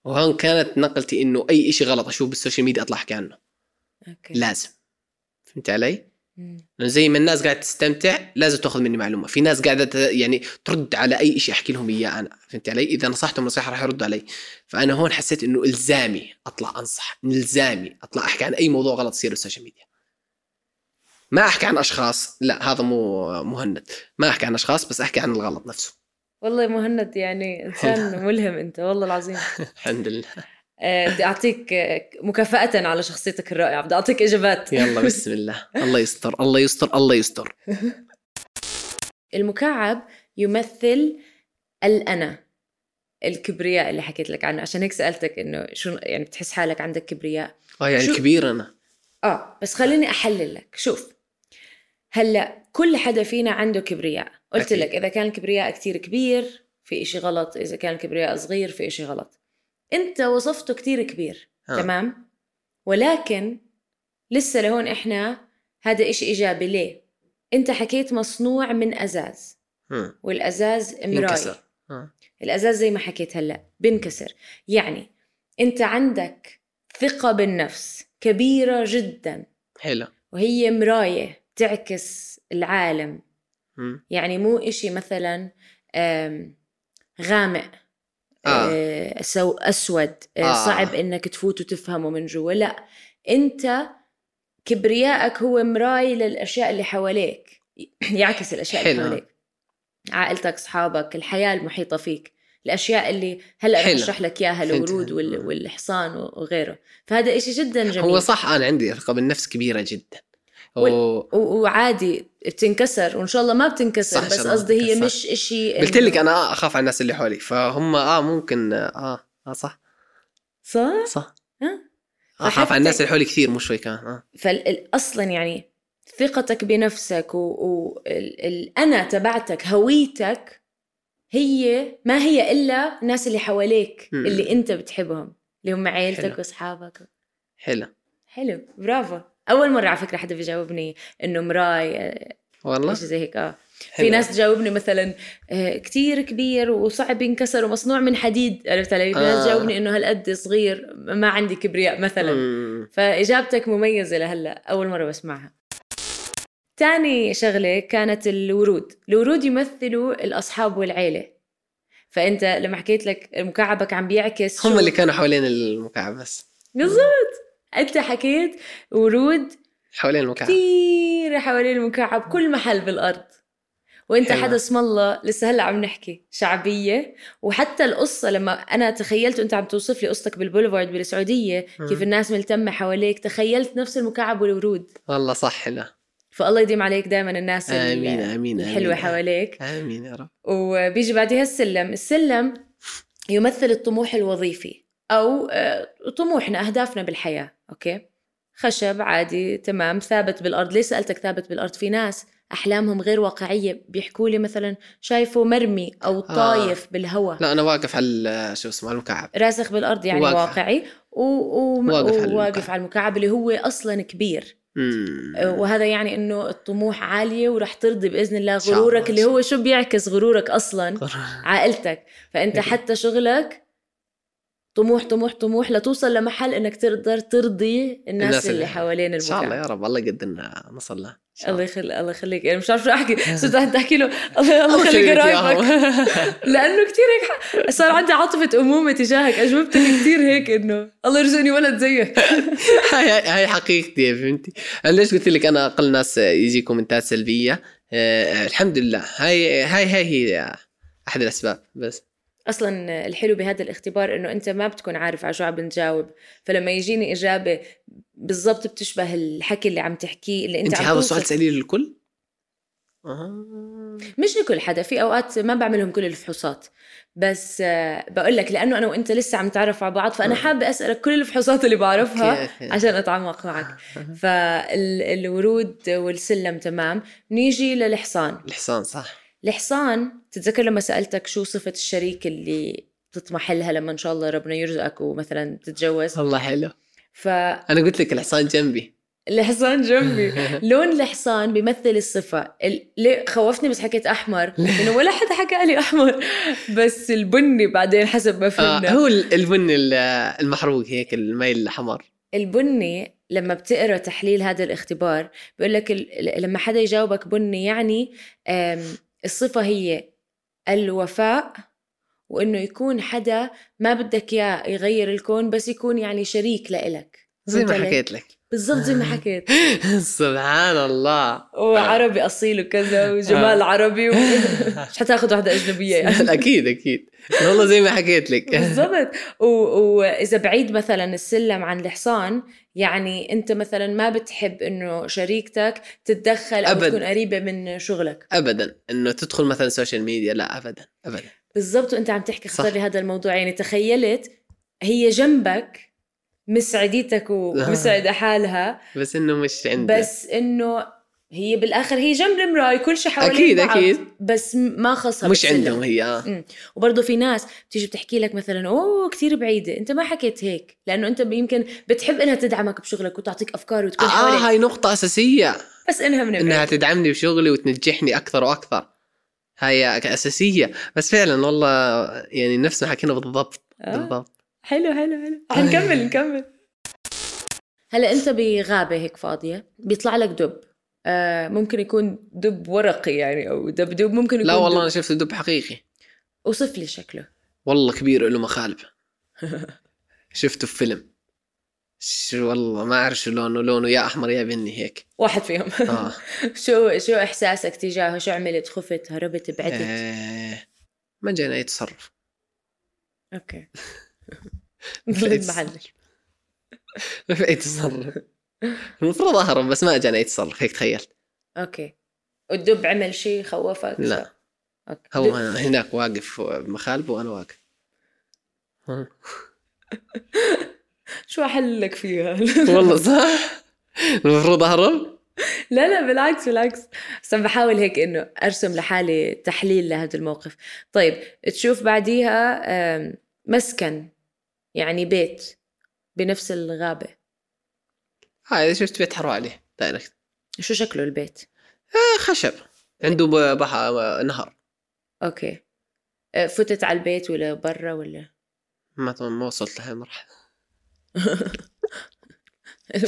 Speaker 1: وهون كانت نقلتي انه اي إشي غلط اشوف بالسوشيال ميديا اطلع احكي عنه
Speaker 2: اوكي
Speaker 1: لازم فهمت علي؟
Speaker 2: أمم.
Speaker 1: لانه زي ما الناس قاعده تستمتع لازم تاخذ مني معلومه في ناس قاعده ت- يعني ترد على اي شيء احكي لهم اياه انا فهمت علي اذا نصحتهم نصيحه راح يردوا علي فانا هون حسيت انه الزامي اطلع انصح الزامي اطلع احكي عن اي موضوع غلط يصير بالسوشيال ميديا ما احكي عن اشخاص لا هذا مو مهند ما احكي عن اشخاص بس احكي عن الغلط نفسه
Speaker 2: والله مهند يعني انسان ملهم انت والله العظيم
Speaker 1: الحمد لله
Speaker 2: آه، بدي اعطيك آه، مكافأة على شخصيتك الرائعة بدي اعطيك اجابات
Speaker 1: يلا بسم الله الله يستر الله يستر الله يستر
Speaker 2: المكعب يمثل الأنا الكبرياء اللي حكيت لك عنه عشان هيك سألتك إنه شو يعني بتحس حالك عندك كبرياء
Speaker 1: اه يعني
Speaker 2: شو-
Speaker 1: كبير انا
Speaker 2: آه بس خليني أحلل لك شوف هلا كل حدا فينا عنده كبرياء قلت
Speaker 1: أكيد.
Speaker 2: لك إذا كان الكبرياء كتير كبير في إشي غلط إذا كان الكبرياء صغير في إشي غلط أنت وصفته كتير كبير
Speaker 1: آه.
Speaker 2: تمام ولكن لسه لهون إحنا هذا إشي إيجابي ليه أنت حكيت مصنوع من أزاز
Speaker 1: مم.
Speaker 2: والازاز مراي
Speaker 1: ينكسر آه.
Speaker 2: الازاز زي ما حكيت هلا بنكسر يعني انت عندك ثقه بالنفس كبيره جدا
Speaker 1: حلو
Speaker 2: وهي مرايه تعكس العالم
Speaker 1: مم.
Speaker 2: يعني مو إشي مثلا آم، غامق
Speaker 1: آه.
Speaker 2: آه. سو اسود آه.
Speaker 1: آه.
Speaker 2: صعب انك تفوت وتفهمه من جوا لا انت كبريائك هو مراي للاشياء اللي حواليك يعكس الاشياء اللي
Speaker 1: حلو.
Speaker 2: حواليك عائلتك اصحابك الحياه المحيطه فيك الاشياء اللي هلا رح
Speaker 1: حلو.
Speaker 2: اشرح لك اياها
Speaker 1: فهمت.
Speaker 2: الورود وال- والحصان وغيره فهذا إشي جدا جميل
Speaker 1: هو صح انا عندي ثقه بالنفس كبيره جدا
Speaker 2: وال-
Speaker 1: و...
Speaker 2: و- وعادي بتنكسر وان شاء الله ما بتنكسر
Speaker 1: صح، إن شاء
Speaker 2: بس
Speaker 1: الله ما
Speaker 2: قصدي هي
Speaker 1: بتنكسر.
Speaker 2: مش إشي
Speaker 1: قلت
Speaker 2: إنه-
Speaker 1: لك انا اخاف على الناس اللي حولي فهم اه ممكن اه اه صح
Speaker 2: صح
Speaker 1: صح
Speaker 2: ها؟
Speaker 1: اخاف
Speaker 2: فحتى-
Speaker 1: على الناس اللي حولي كثير مو شوي كمان اه
Speaker 2: فاصلا يعني ثقتك بنفسك والانا تبعتك هويتك هي ما هي الا الناس اللي حواليك
Speaker 1: مم.
Speaker 2: اللي انت بتحبهم اللي هم عيلتك
Speaker 1: حلو.
Speaker 2: واصحابك
Speaker 1: حلو
Speaker 2: حلو برافو اول مره على فكره حدا بيجاوبني انه مراي آه،
Speaker 1: والله
Speaker 2: شيء زي هيك اه في
Speaker 1: حلو.
Speaker 2: ناس تجاوبني مثلا آه، كتير كبير وصعب ينكسر ومصنوع من حديد عرفت علي؟ في ناس
Speaker 1: آه.
Speaker 2: تجاوبني انه هالقد صغير ما عندي كبرياء مثلا
Speaker 1: مم.
Speaker 2: فإجابتك مميزة لهلا أول مرة بسمعها تاني شغلة كانت الورود الورود يمثلوا الأصحاب والعيلة فأنت لما حكيت لك مكعبك عم بيعكس
Speaker 1: هم
Speaker 2: شو-
Speaker 1: اللي كانوا حوالين المكعب بس
Speaker 2: بالضبط أنت حكيت ورود
Speaker 1: حوالين المكعب
Speaker 2: كثير حوالين المكعب كل محل بالأرض وانت
Speaker 1: حلوة.
Speaker 2: حدا اسم الله لسه هلا عم نحكي شعبيه وحتى القصه لما انا تخيلت وانت عم توصف لي قصتك بالبوليفارد بالسعوديه كيف
Speaker 1: مم.
Speaker 2: الناس ملتمه حواليك تخيلت نفس المكعب والورود
Speaker 1: والله صح حلو
Speaker 2: فالله يديم عليك دائما الناس ال-
Speaker 1: امين امين
Speaker 2: الحلوه
Speaker 1: آمين.
Speaker 2: حواليك
Speaker 1: امين يا رب
Speaker 2: وبيجي بعدها السلم السلم يمثل الطموح الوظيفي او آه، طموحنا اهدافنا بالحياه اوكي خشب عادي تمام ثابت بالارض ليش سالتك ثابت بالارض في ناس احلامهم غير واقعيه بيحكوا لي مثلا شايفه مرمي او طايف بالهواء
Speaker 1: آه. لا انا واقف على ال- شو اسمه على المكعب
Speaker 2: راسخ بالارض يعني
Speaker 1: واقف.
Speaker 2: واقعي و... و...
Speaker 1: واقف على
Speaker 2: وواقف
Speaker 1: المكعب.
Speaker 2: على المكعب اللي هو اصلا كبير
Speaker 1: مم.
Speaker 2: وهذا يعني انه الطموح عاليه ورح ترضي باذن الله
Speaker 1: شاء الله،
Speaker 2: غرورك
Speaker 1: إن
Speaker 2: اللي
Speaker 1: شاء
Speaker 2: هو شو بيعكس غرورك اصلا عائلتك فانت
Speaker 1: أكيد.
Speaker 2: حتى شغلك طموح طموح طموح لتوصل لمحل انك تقدر ترضي الناس,
Speaker 1: الناس
Speaker 2: اللي
Speaker 1: اللي-
Speaker 2: حوالين
Speaker 1: ان شاء الله
Speaker 2: المكان
Speaker 1: يا رب الله يقدرنا نصل له إن شاء
Speaker 2: الله
Speaker 1: الله.
Speaker 2: يخلي الله يخليك انا مش عارف شو احكي صرت قاعد احكي له الله الله
Speaker 1: أول شيء
Speaker 2: يخلي
Speaker 1: بدك
Speaker 2: قرايبك
Speaker 1: إياهم.
Speaker 2: لانه كثير هيك ح- صار عندي عاطفه امومه تجاهك اجوبتك كثير هيك انه الله يرزقني ولد زيك
Speaker 1: هاي هاي- هاي حقيقتي فهمتي انا ليش قلت لك انا اقل ناس يجي كومنتات سلبيه آه الحمد لله هاي هاي هاي هي احد الاسباب بس
Speaker 2: اصلا الحلو بهذا الاختبار انه انت ما بتكون عارف على شو عم بنجاوب فلما يجيني اجابه بالضبط بتشبه الحكي اللي عم تحكيه اللي انت,
Speaker 1: انت
Speaker 2: عم
Speaker 1: هذا
Speaker 2: توصف-
Speaker 1: السؤال تساليه للكل؟ آه.
Speaker 2: مش لكل حدا في اوقات ما بعملهم كل الفحوصات بس آه، بقول لك لانه انا وانت لسه عم نتعرف على بعض فانا
Speaker 1: آه.
Speaker 2: حابه اسالك كل الفحوصات اللي بعرفها
Speaker 1: أوكي، أوكي.
Speaker 2: عشان اتعمق معك
Speaker 1: آه.
Speaker 2: فالورود والسلم تمام نيجي للحصان
Speaker 1: الحصان صح
Speaker 2: الحصان تتذكر لما سألتك شو صفة الشريك اللي بتطمح لها لما إن شاء الله ربنا يرزقك ومثلا تتجوز
Speaker 1: والله حلو
Speaker 2: فالحصان
Speaker 1: انا قلت لك الحصان جنبي آه،
Speaker 2: جنبي لون الحصان بيمثل الصفة ال- ليه خوفتني بس حكيت أحمر لأنه ولا حدا حكى لي أحمر بس البني بعدين حسب ما
Speaker 1: آه
Speaker 2: فهمنا
Speaker 1: هو ال- البني ال- المحروق هيك الميل الاحمر
Speaker 2: البني لما بتقرا تحليل هذا الاختبار بيقول لك ال- لما حدا يجاوبك بني يعني آم، الصفه هي الوفاء وانه يكون حدا ما بدك اياه يغير الكون بس يكون يعني شريك لإلك
Speaker 1: زي ما
Speaker 2: فهمت علي؟
Speaker 1: حكيت لك
Speaker 2: بالضبط زي
Speaker 1: آه.
Speaker 2: ما حكيت
Speaker 1: سبحان الله
Speaker 2: وعربي اصيل وكذا
Speaker 1: آه.
Speaker 2: وجمال عربي و... مش حتاخذ وحده اجنبيه يعني
Speaker 1: اكيد اكيد والله زي ما حكيت لك
Speaker 2: بالضبط و- واذا بعيد مثلا السلم عن الحصان يعني انت مثلا ما بتحب انه شريكتك تتدخل او
Speaker 1: أبد.
Speaker 2: تكون قريبه من شغلك
Speaker 1: ابدا انه تدخل مثلا سوشيال ميديا لا ابدا ابدا
Speaker 2: بالضبط وانت عم تحكي
Speaker 1: صح.
Speaker 2: خطر لي هذا الموضوع يعني تخيلت هي جنبك مسعدتك ومسعده حالها
Speaker 1: بس انه مش عندي
Speaker 2: بس انه هي بالاخر هي جنب المراي كل شيء حوالين
Speaker 1: أكيد،
Speaker 2: بعض.
Speaker 1: أكيد.
Speaker 2: بس م- ما خصها
Speaker 1: مش
Speaker 2: بالسلم.
Speaker 1: عندهم هي آه.
Speaker 2: وبرضه في ناس بتيجي بتحكي لك مثلا اوه كثير بعيده انت ما حكيت هيك لانه انت يمكن بتحب انها تدعمك بشغلك وتعطيك افكار وتكون
Speaker 1: اه
Speaker 2: حواليك
Speaker 1: هاي نقطة أساسية
Speaker 2: بس انها من
Speaker 1: انها
Speaker 2: بعيد
Speaker 1: تدعمني بشغلي وتنجحني أكثر وأكثر هاي أساسية بس فعلا والله يعني نفس ما حكينا بالضبط
Speaker 2: آه.
Speaker 1: بالضبط آه.
Speaker 2: حلو حلو حلو حنكمل نكمل هلا انت بغابه هيك فاضيه بيطلع لك دب آه ممكن يكون دب ورقي يعني او دبدوب ممكن يكون
Speaker 1: لا والله أنا
Speaker 2: دب.
Speaker 1: شفت دب حقيقي
Speaker 2: اوصف لي شكله
Speaker 1: والله كبير له مخالب شفته في فيلم شو والله ما أعرف شو لونه لونه يا أحمر يا بني هيك
Speaker 2: واحد فيهم
Speaker 1: آه
Speaker 2: شو شو احساسك تجاهه شو عملت خفت هربت بعدت
Speaker 1: آه، ما جانا أي تصرف
Speaker 2: اوكي
Speaker 1: بس-
Speaker 2: بعلم.
Speaker 1: رفعي تصرف المفروض اهرب بس ما اجاني اتصرف هيك تخيل
Speaker 2: اوكي والدب عمل شيء خوفك
Speaker 1: لا.
Speaker 2: اوكي
Speaker 1: هو
Speaker 2: دب-
Speaker 1: أنا هناك واقف بمخالبه وانا واقف ها.
Speaker 2: شو حلك فيها
Speaker 1: والله صح المفروض اهرب
Speaker 2: لا لا بالعكس بالعكس بس عم بحاول هيك انه ارسم لحالي تحليل لهذا الموقف طيب تشوف بعديها آم، مسكن يعني بيت بنفس الغابة
Speaker 1: هاي إذا شفت بيت حروا عليه دايركت
Speaker 2: شو شكله البيت
Speaker 1: آه، خشب عنده ب- بحر نهر
Speaker 2: اوكي آه، فتت على البيت ولا برا ولا
Speaker 1: ما ما وصلت لها المرحله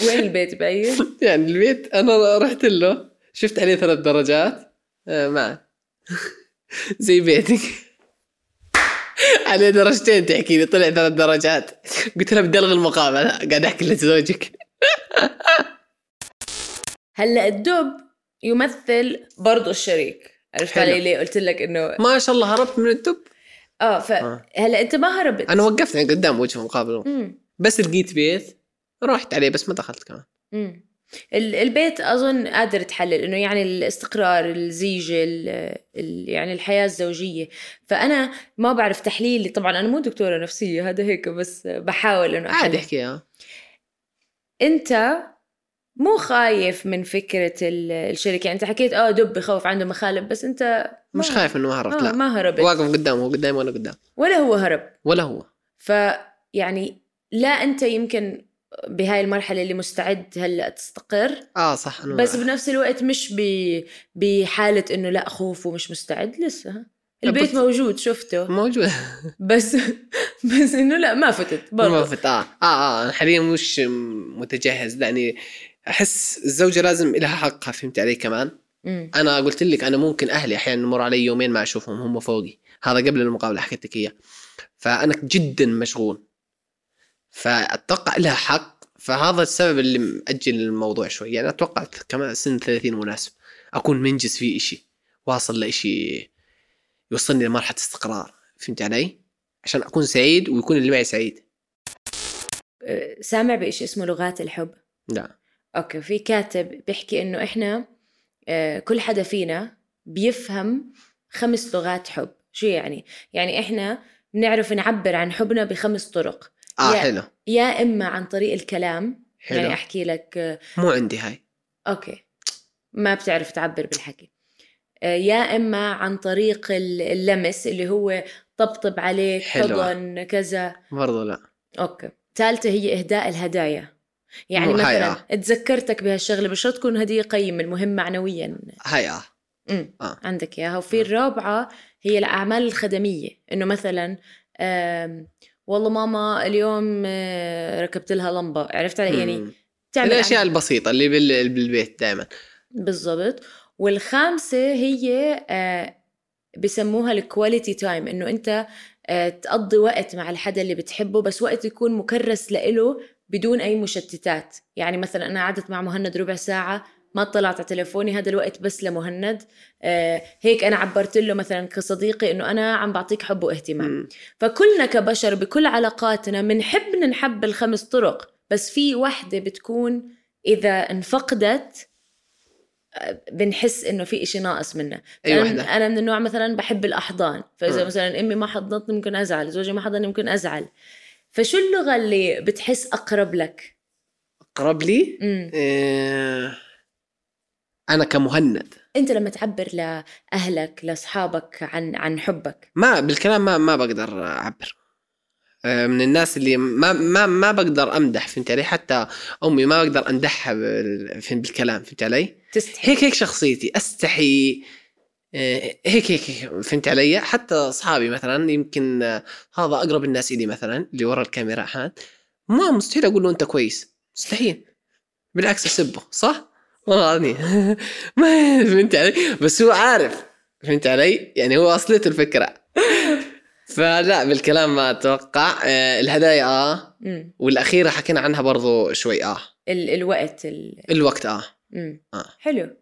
Speaker 2: وين البيت بعيد
Speaker 1: يعني البيت انا رحت له شفت عليه ثلاث درجات آه، ما زي بيتك عليه درجتين تحكي لي طلع ثلاث درجات قلت لها بدي الغي المقابله قاعد احكي لزوجك
Speaker 2: هلا الدب يمثل برضه الشريك عرفت
Speaker 1: حلو.
Speaker 2: علي ليه قلت لك انه
Speaker 1: ما شاء الله هربت من الدب
Speaker 2: اه
Speaker 1: آه.
Speaker 2: فهلا انت ما هربت
Speaker 1: انا وقفت يعني قدام وجهه مقابله
Speaker 2: امم
Speaker 1: بس لقيت بيت رحت عليه بس ما دخلت كمان
Speaker 2: امم ال- البيت اظن قادر تحلل انه يعني الاستقرار الزيجه ال- ال- يعني الحياه الزوجيه فانا ما بعرف تحليلي طبعا انا مو دكتوره نفسيه هذا هيك بس بحاول انه
Speaker 1: عادي
Speaker 2: أحلل.
Speaker 1: احكيها
Speaker 2: انت مو خايف من فكره ال- الشركه يعني انت حكيت اه دب بخوف عنده مخالب بس انت ما-
Speaker 1: مش خايف انه ما هربت
Speaker 2: آه
Speaker 1: لا
Speaker 2: ما هربت
Speaker 1: واقف قدامه هو قدامي وانا قدام
Speaker 2: ولا هو هرب
Speaker 1: ولا هو
Speaker 2: فيعني لا انت يمكن بهاي المرحله اللي مستعد هلا تستقر
Speaker 1: اه صح أنا
Speaker 2: بس بنفس الوقت مش ب... بحاله انه لا خوف ومش مستعد لسه البيت
Speaker 1: بس-
Speaker 2: موجود شفته
Speaker 1: موجود
Speaker 2: بس بس انه لا ما فتت برضه
Speaker 1: الملفت اه اه اه أنا حاليا مش متجهز لاني احس الزوجه لازم لها حقها فهمت علي كمان
Speaker 2: مم.
Speaker 1: انا قلت لك انا ممكن اهلي احيانا يمر علي يومين ما اشوفهم هم فوقي هذا قبل المقابله حكيت لك اياه فانا جدا مشغول فاتوقع لها حق فهذا السبب اللي مأجل الموضوع شوي يعني اتوقع كمان سن 30 مناسب اكون منجز في إشي واصل لإشي يوصلني لمرحله استقرار فهمت علي عشان اكون سعيد ويكون اللي معي سعيد
Speaker 2: آه، سامع بشيء اسمه لغات الحب
Speaker 1: لا
Speaker 2: اوكي في كاتب بيحكي انه احنا آه، كل حدا فينا بيفهم خمس لغات حب شو يعني يعني احنا بنعرف نعبر عن حبنا بخمس طرق
Speaker 1: اه
Speaker 2: يا-
Speaker 1: حلو
Speaker 2: يا اما عن طريق الكلام
Speaker 1: حلو
Speaker 2: يعني احكي لك آه،
Speaker 1: مو عندي هاي
Speaker 2: اوكي ما بتعرف تعبر بالحكي آه، يا اما عن طريق ال- اللمس اللي هو طبطب عليك
Speaker 1: حلوة.
Speaker 2: حضن كذا
Speaker 1: برضو لا
Speaker 2: اوكي ثالثه هي اهداء الهدايا يعني
Speaker 1: مو هاي، آه.
Speaker 2: مثلا تذكرتك بهالشغله مش شرط تكون هديه قيمه المهم معنويا
Speaker 1: هاي اه
Speaker 2: امم
Speaker 1: آه.
Speaker 2: عندك اياها وفي الرابعه هي الاعمال الخدميه انه مثلا آم، والله ماما اليوم آه، ركبت لها لمبه عرفت علي يعني
Speaker 1: مم.
Speaker 2: تعمل
Speaker 1: الاشياء البسيطه اللي بال... بالبيت دائما
Speaker 2: بالضبط والخامسة هي آه، بسموها الكواليتي تايم انه انت آه، تقضي وقت مع الحدا اللي بتحبه بس وقت يكون مكرس لإله بدون اي مشتتات يعني مثلا انا قعدت مع مهند ربع ساعة ما طلعت على تليفوني هذا الوقت بس لمهند آه، هيك انا عبرت له مثلا كصديقي انه انا عم بعطيك حب واهتمام فكلنا كبشر بكل علاقاتنا بنحب ننحب الخمس طرق بس في وحدة بتكون إذا انفقدت آه، بنحس انه في إشي ناقص منا
Speaker 1: أي
Speaker 2: فأنا-
Speaker 1: وحدة؟
Speaker 2: انا من النوع مثلا بحب الاحضان فاذا
Speaker 1: م.
Speaker 2: مثلا امي ما حضنتني ممكن ازعل زوجي ما حضنني ممكن ازعل فشو اللغه اللي بتحس اقرب لك
Speaker 1: قرب لي
Speaker 2: مم.
Speaker 1: آه... انا كمهند
Speaker 2: انت لما تعبر لاهلك لاصحابك عن عن حبك
Speaker 1: ما بالكلام ما ما بقدر اعبر آه، من الناس اللي ما ما ما بقدر امدح فهمت علي حتى امي ما بقدر امدحها بال... فهم- بالكلام فهمت علي
Speaker 2: تستحي
Speaker 1: هيك هيك شخصيتي استحي آه، هيك هيك هيك، فهمت علي حتى اصحابي مثلا يمكن آه، هذا اقرب الناس الي مثلا اللي ورا الكاميرا احيانا ما مستحيل اقول له انت كويس مستحيل بالعكس اسبه صح والله العظيم ما فهمت علي بس هو عارف فهمت علي يعني هو اصلته الفكره فلا بالكلام ما اتوقع آه، الهدايا اه
Speaker 2: مم.
Speaker 1: والاخيره حكينا عنها برضو شوي اه
Speaker 2: ال- الوقت ال...
Speaker 1: الوقت اه
Speaker 2: مم.
Speaker 1: آه.
Speaker 2: حلو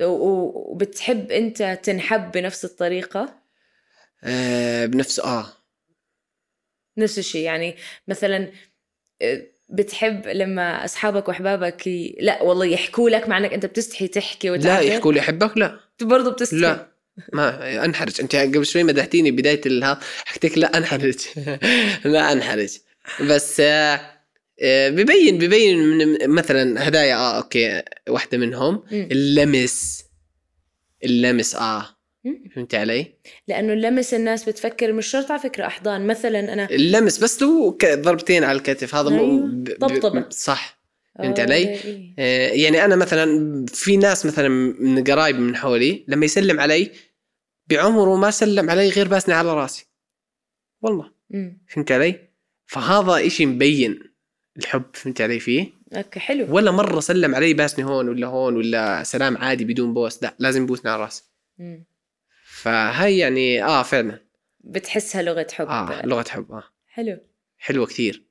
Speaker 2: و- و- وبتحب انت تنحب بنفس الطريقه
Speaker 1: آه، بنفسه اه
Speaker 2: نفس الشيء يعني مثلا آه، بتحب لما اصحابك واحبابك ي... لا والله يحكوا لك مع انك انت بتستحي تحكي
Speaker 1: لا
Speaker 2: وتعبر
Speaker 1: يحكوا لي احبك لا
Speaker 2: برضه بتستحي
Speaker 1: لا ما انحرج انت قبل شوي مدحتيني بدايه الها حكيت لا انحرج لا انحرج بس آه، آه، ببين ببين من مثلا هدايا اه اوكي واحده منهم
Speaker 2: مم.
Speaker 1: اللمس اللمس اه
Speaker 2: مم.
Speaker 1: فهمت علي؟
Speaker 2: لانه اللمس الناس بتفكر مش شرط على فكره احضان مثلا انا
Speaker 1: اللمس بس لو ك- ضربتين على الكتف هذا مو
Speaker 2: أيوة.
Speaker 1: ب- ب-
Speaker 2: طبطبة.
Speaker 1: صح فهمت علي؟
Speaker 2: آه، إيه.
Speaker 1: آه، يعني انا مثلا في ناس مثلا من قرايب من حولي لما يسلم علي بعمره ما سلم علي غير باسني على راسي والله
Speaker 2: مم.
Speaker 1: فهمت علي؟ فهذا إشي مبين الحب فهمت علي فيه
Speaker 2: اوكي حلو
Speaker 1: ولا مرة سلم علي باسني هون ولا هون ولا سلام عادي بدون بوس لا لازم يبوسني على راسي
Speaker 2: مم.
Speaker 1: فهي يعني اه فعلا
Speaker 2: بتحسها لغه حب
Speaker 1: اه لغة حب اه
Speaker 2: حلو
Speaker 1: حلوة كثير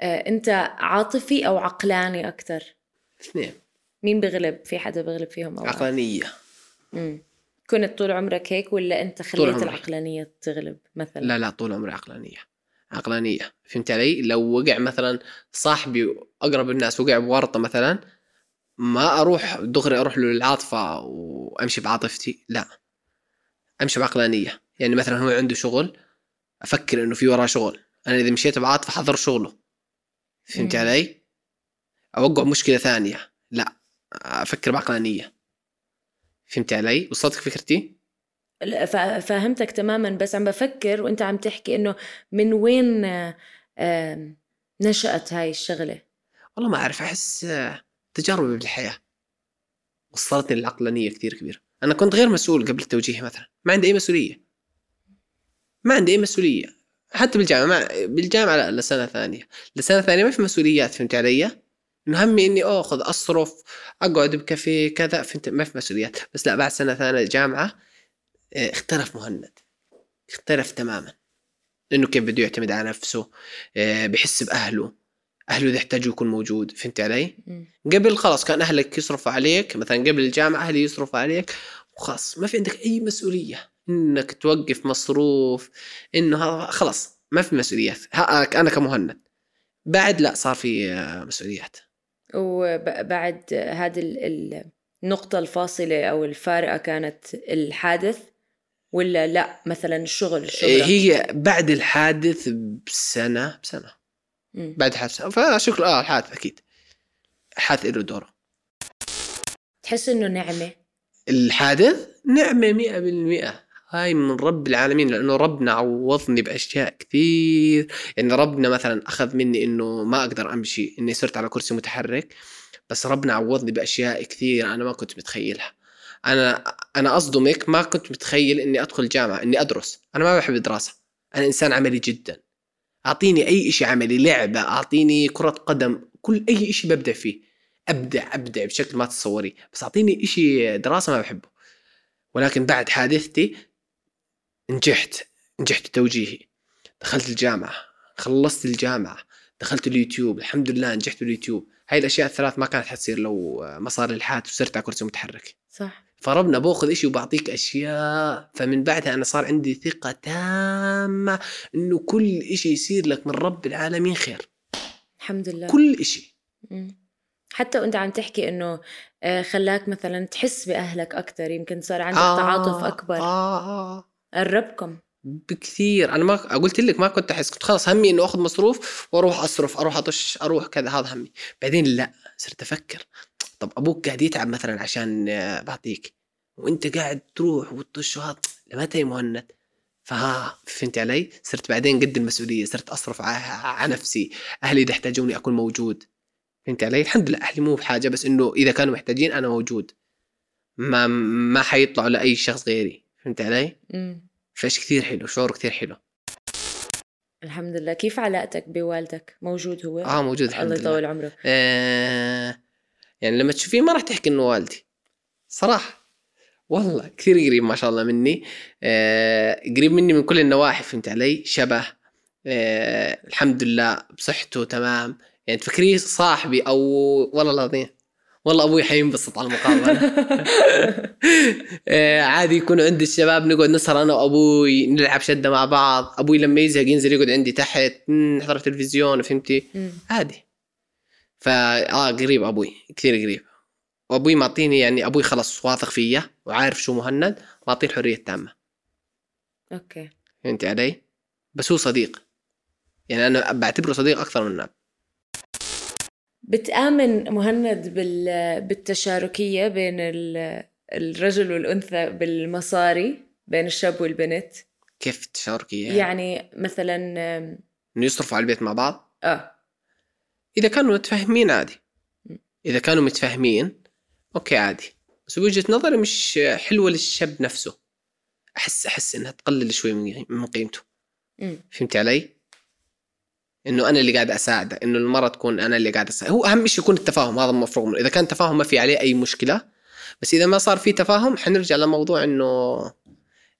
Speaker 2: آه، انت عاطفي او عقلاني اكثر
Speaker 1: اثنين
Speaker 2: مين بغلب في حدا بغلب فيهم او
Speaker 1: عقلانية
Speaker 2: مم. كنت طول عمرك هيك ولا انت خليت
Speaker 1: عمري.
Speaker 2: العقلانيه تغلب مثلا
Speaker 1: لا لا طول عمري عقلانية عقلانية فهمت علي لو وقع مثلا صاحبي واقرب الناس وقع بورطة مثلا ما اروح دغري اروح له للعاطفة وامشي بعاطفتي لا امشي بعقلانية يعني مثلا هو عنده شغل افكر انه في وراه شغل انا اذا مشيت بعاطفة حضر شغله فهمت
Speaker 2: مم.
Speaker 1: علي اوقع مشكلة ثانية لا افكر بعقلانية فهمت علي وصلتك فكرتي
Speaker 2: لا فا- فهمتك تماما بس عم بفكر وانت عم تحكي انه من وين آه، آم، نشأت هاي الشغلة
Speaker 1: والله ما أعرف أحس آه، تجاربي بالحياة وصلتني للعقلانية كثير كبيرة أنا كنت غير مسؤول قبل التوجيه مثلا ما عندي أي مسؤولية ما عندي أي مسؤولية حتى بالجامعة ما بالجامعة لا لسنة ثانية لسنة ثانية ما في مسؤوليات فهمت علي إنه همي إني أخذ أصرف أقعد بكافيه كذا فهمت ما في مسؤوليات بس لا بعد سنة ثانية جامعة آه، اختلف مهند اختلف تماما إنه كيف بده يعتمد على نفسه آه، بحس بأهله أهله إذا احتاجوا يكون موجود فهمت علي؟ قبل خلاص كان اهلك يصرفوا عليك مثلا قبل الجامعه اهلي يصرفوا عليك وخلاص ما في عندك اي مسؤوليه انك توقف مصروف انه هذا خلاص ما في مسؤوليات ها انا كمهند بعد لا صار في آه، مسؤوليات
Speaker 2: وبعد هذه ال- ال- النقطة الفاصلة أو الفارقة كانت الحادث ولا لا مثلا الشغل الشغل
Speaker 1: إيه، هي بعد الحادث بسنه بسنه بعد الحادث فشكرا اه الحادث اكيد الحادث له دوره
Speaker 2: تحس إنه نعمة
Speaker 1: الحادث نعمة مئة بالمئة هاي من رب العالمين لأنه ربنا عوضني بأشياء كثير يعني ربنا مثلا أخذ مني أنه ما أقدر أمشي أني صرت على كرسي متحرك بس ربنا عوضني بأشياء كثير أنا ما كنت متخيلها أنا أنا أصدمك ما كنت متخيل أني أدخل جامعة أني أدرس أنا ما بحب الدراسة أنا إنسان عملي جدا أعطيني أي إشي عملي لعبة أعطيني كرة قدم كل أي إشي ببدأ فيه ابدع ابدع بشكل ما تتصوري بس اعطيني إشي دراسه ما بحبه ولكن بعد حادثتي نجحت نجحت توجيهي دخلت الجامعه خلصت الجامعه دخلت اليوتيوب الحمد لله نجحت باليوتيوب هاي الاشياء الثلاث ما كانت حتصير لو ما صار الحادث وصرت على كرسي متحرك
Speaker 2: صح
Speaker 1: فربنا باخذ إشي وبعطيك اشياء فمن بعدها انا صار عندي ثقه تامه انه كل إشي يصير لك من رب العالمين خير
Speaker 2: الحمد لله
Speaker 1: كل إشي
Speaker 2: مم. حتى وانت عم تحكي انه آه، خلاك مثلا تحس باهلك اكثر يمكن صار عندك آه تعاطف اكبر آه
Speaker 1: آه آه.
Speaker 2: قربكم
Speaker 1: بكثير انا ما قلت لك ما كنت احس كنت خلاص همي انه اخذ مصروف واروح اصرف اروح اطش اروح كذا هذا همي بعدين لا صرت افكر طب ابوك قاعد يتعب مثلا عشان آه، بعطيك وانت قاعد تروح وتطش وهذا لمتى يا مهند فها فهمت علي صرت بعدين قد المسؤوليه صرت اصرف على نفسي اهلي اذا احتاجوني اكون موجود فهمت علي الحمد لله اهلي مو بحاجه بس انه اذا كانوا محتاجين انا موجود ما ما حيطلعوا لاي شخص غيري فهمت علي
Speaker 2: مم.
Speaker 1: فايش كثير حلو شعور كثير حلو
Speaker 2: الحمد لله كيف علاقتك بوالدك موجود هو
Speaker 1: اه موجود
Speaker 2: الله
Speaker 1: الحمد لله
Speaker 2: يطول عمره
Speaker 1: آه يعني لما تشوفيه ما راح تحكي انه والدي صراحه والله كثير قريب ما شاء الله مني آه قريب مني من كل النواحي فهمت علي شبه آه الحمد لله بصحته تمام يعني تفكريه صاحبي او والله العظيم والله ابوي حينبسط على المقابله آه، عادي يكون عند الشباب نقعد نسهر انا وابوي نلعب شده مع بعض ابوي لما يزهق ينزل يقعد عندي تحت مم، نحضر تلفزيون فهمتي
Speaker 2: مم.
Speaker 1: عادي فا اه قريب ابوي كثير قريب وابوي معطيني يعني ابوي خلص واثق فيا وعارف شو مهند معطيه الحريه التامه
Speaker 2: اوكي
Speaker 1: فهمتي علي بس هو صديق يعني انا بعتبره صديق اكثر من اب
Speaker 2: بتآمن مهند بال... بالتشاركية بين ال... الرجل والأنثى بالمصاري بين الشاب والبنت
Speaker 1: كيف تشاركي يعني, يعني.
Speaker 2: يعني مثلا آم،
Speaker 1: انه يصرفوا على البيت مع بعض
Speaker 2: اه
Speaker 1: اذا كانوا متفاهمين عادي اذا كانوا متفاهمين اوكي عادي بس وجهه نظري مش حلوه للشاب نفسه احس احس انها تقلل شوي من من قيمته
Speaker 2: أمم.
Speaker 1: فهمت علي انه انا اللي قاعد اساعده انه المره تكون انا اللي قاعد اساعده هو اهم شيء يكون التفاهم هذا المفروض منه اذا كان تفاهم ما في عليه اي مشكله بس اذا ما صار في تفاهم حنرجع لموضوع انه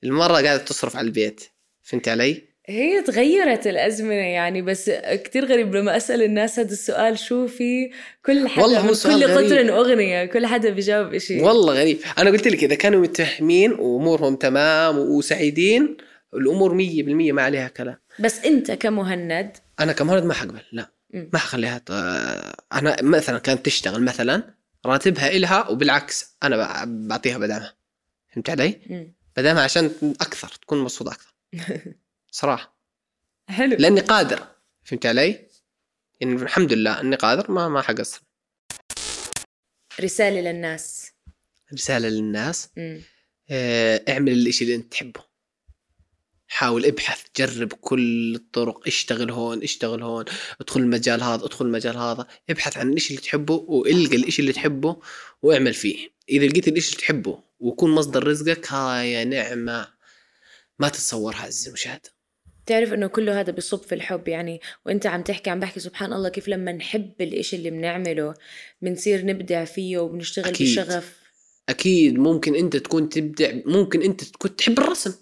Speaker 1: المره قاعده تصرف على البيت فهمت علي
Speaker 2: هي تغيرت الأزمنة يعني بس كتير غريب لما أسأل الناس هذا السؤال شو في كل حدا
Speaker 1: والله هو
Speaker 2: من
Speaker 1: سؤال
Speaker 2: كل
Speaker 1: غريب.
Speaker 2: قطر أغنية كل حدا بيجاوب إشي
Speaker 1: والله غريب انا قلت لك اذا كانوا متفاهمين وامورهم تمام وسعيدين الامور 100% ما عليها كلام
Speaker 2: بس أنت كمهند
Speaker 1: انا كمهند ما حقبل لا
Speaker 2: مم.
Speaker 1: ما حخليها ت- انا مثلا كانت تشتغل مثلا راتبها إلها وبالعكس انا بع- بعطيها بدعمها فهمت علي؟
Speaker 2: أمم.
Speaker 1: بدعمها عشان اكثر تكون مبسوطه اكثر صراحه
Speaker 2: حلو
Speaker 1: لاني قادر فهمت علي؟ يعني الحمد لله اني قادر ما ما حقصر
Speaker 2: رسالة للناس
Speaker 1: رساله للناس
Speaker 2: أمم.
Speaker 1: آه، اعمل الاشي اللي انت تحبه حاول ابحث جرب كل الطرق اشتغل هون اشتغل هون ادخل المجال هذا ادخل المجال هذا ابحث عن الاشي اللي تحبه والقى الاشي اللي تحبه واعمل فيه اذا لقيت الاشي اللي تحبه ويكون مصدر رزقك هاي نعمة ما تتصورها عزيزي المشاهد
Speaker 2: بتعرف انه كله هذا بصب في الحب يعني وانت عم تحكي عم بحكي سبحان الله كيف لما نحب الاشي اللي بنعمله بنصير نبدع فيه وبنشتغل
Speaker 1: أكيد.
Speaker 2: بشغف
Speaker 1: اكيد ممكن انت تكون تبدع ممكن انت تكون تحب الرسم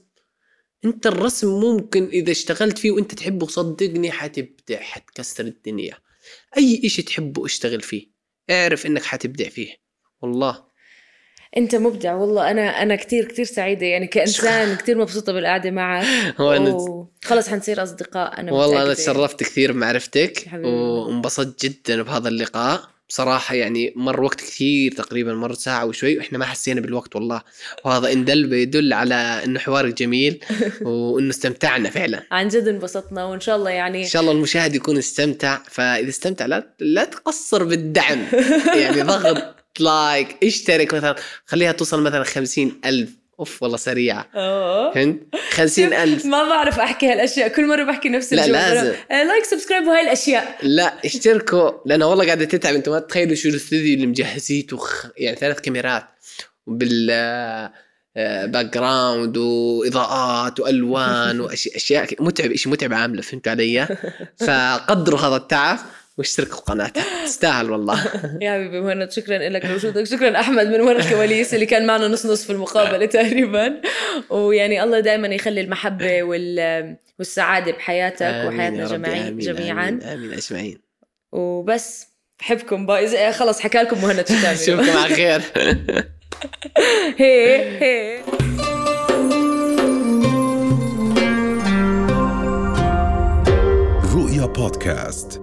Speaker 1: انت الرسم ممكن اذا اشتغلت فيه وانت تحبه صدقني حتبدع حتكسر الدنيا اي اشي تحبه اشتغل فيه اعرف انك حتبدع فيه والله
Speaker 2: انت مبدع والله انا انا كتير كتير سعيده يعني كانسان كتير مبسوطه بالقعده معك
Speaker 1: وانا
Speaker 2: و- خلص حنصير اصدقاء انا
Speaker 1: والله انا
Speaker 2: متأكدة.
Speaker 1: تشرفت كثير بمعرفتك
Speaker 2: حبيبي.
Speaker 1: وانبسطت جدا بهذا اللقاء بصراحة يعني مر وقت كثير تقريبا مر ساعة وشوي واحنا ما حسينا بالوقت والله وهذا ان دل بيدل على انه حوارك جميل وانه استمتعنا فعلا
Speaker 2: عن جد انبسطنا وان شاء الله يعني
Speaker 1: ان شاء الله المشاهد يكون استمتع فاذا استمتع لا لا تقصر بالدعم يعني ضغط لايك اشترك مثلا خليها توصل مثلا خمسين ألف اوف والله سريعة
Speaker 2: أوه.
Speaker 1: فهمت خمسين ألف
Speaker 2: ما بعرف احكي هالاشياء كل مره بحكي نفس
Speaker 1: لا،
Speaker 2: الجمله
Speaker 1: لازم.
Speaker 2: آه، لايك سبسكرايب وهاي الاشياء
Speaker 1: لا اشتركوا لانه والله قاعده تتعب انتم ما تتخيلوا شو الاستوديو اللي مجهزيته خ... يعني ثلاث كاميرات وبال آه، باك جراوند واضاءات والوان واشياء اشياء ك- متعب شيء متعب عامله فهمت علي؟ فقدروا هذا التعب واشتركوا في قناتها تستاهل والله
Speaker 2: يا حبيبي مهند شكرا لك لوجودك شكرا احمد من ورا الكواليس اللي كان معنا نص نص في المقابله تقريبا ويعني الله دائما يخلي المحبه وال والسعاده بحياتك
Speaker 1: آمين يا
Speaker 2: وحياتنا
Speaker 1: رب،
Speaker 2: جميعا
Speaker 1: آمين،
Speaker 2: جميعا
Speaker 1: آمين, آمين اجمعين
Speaker 2: وبس بحبكم باي خلص حكى لكم مهند شو تعملوا
Speaker 1: اشوفكم على خير
Speaker 2: هي هي
Speaker 4: رؤيا بودكاست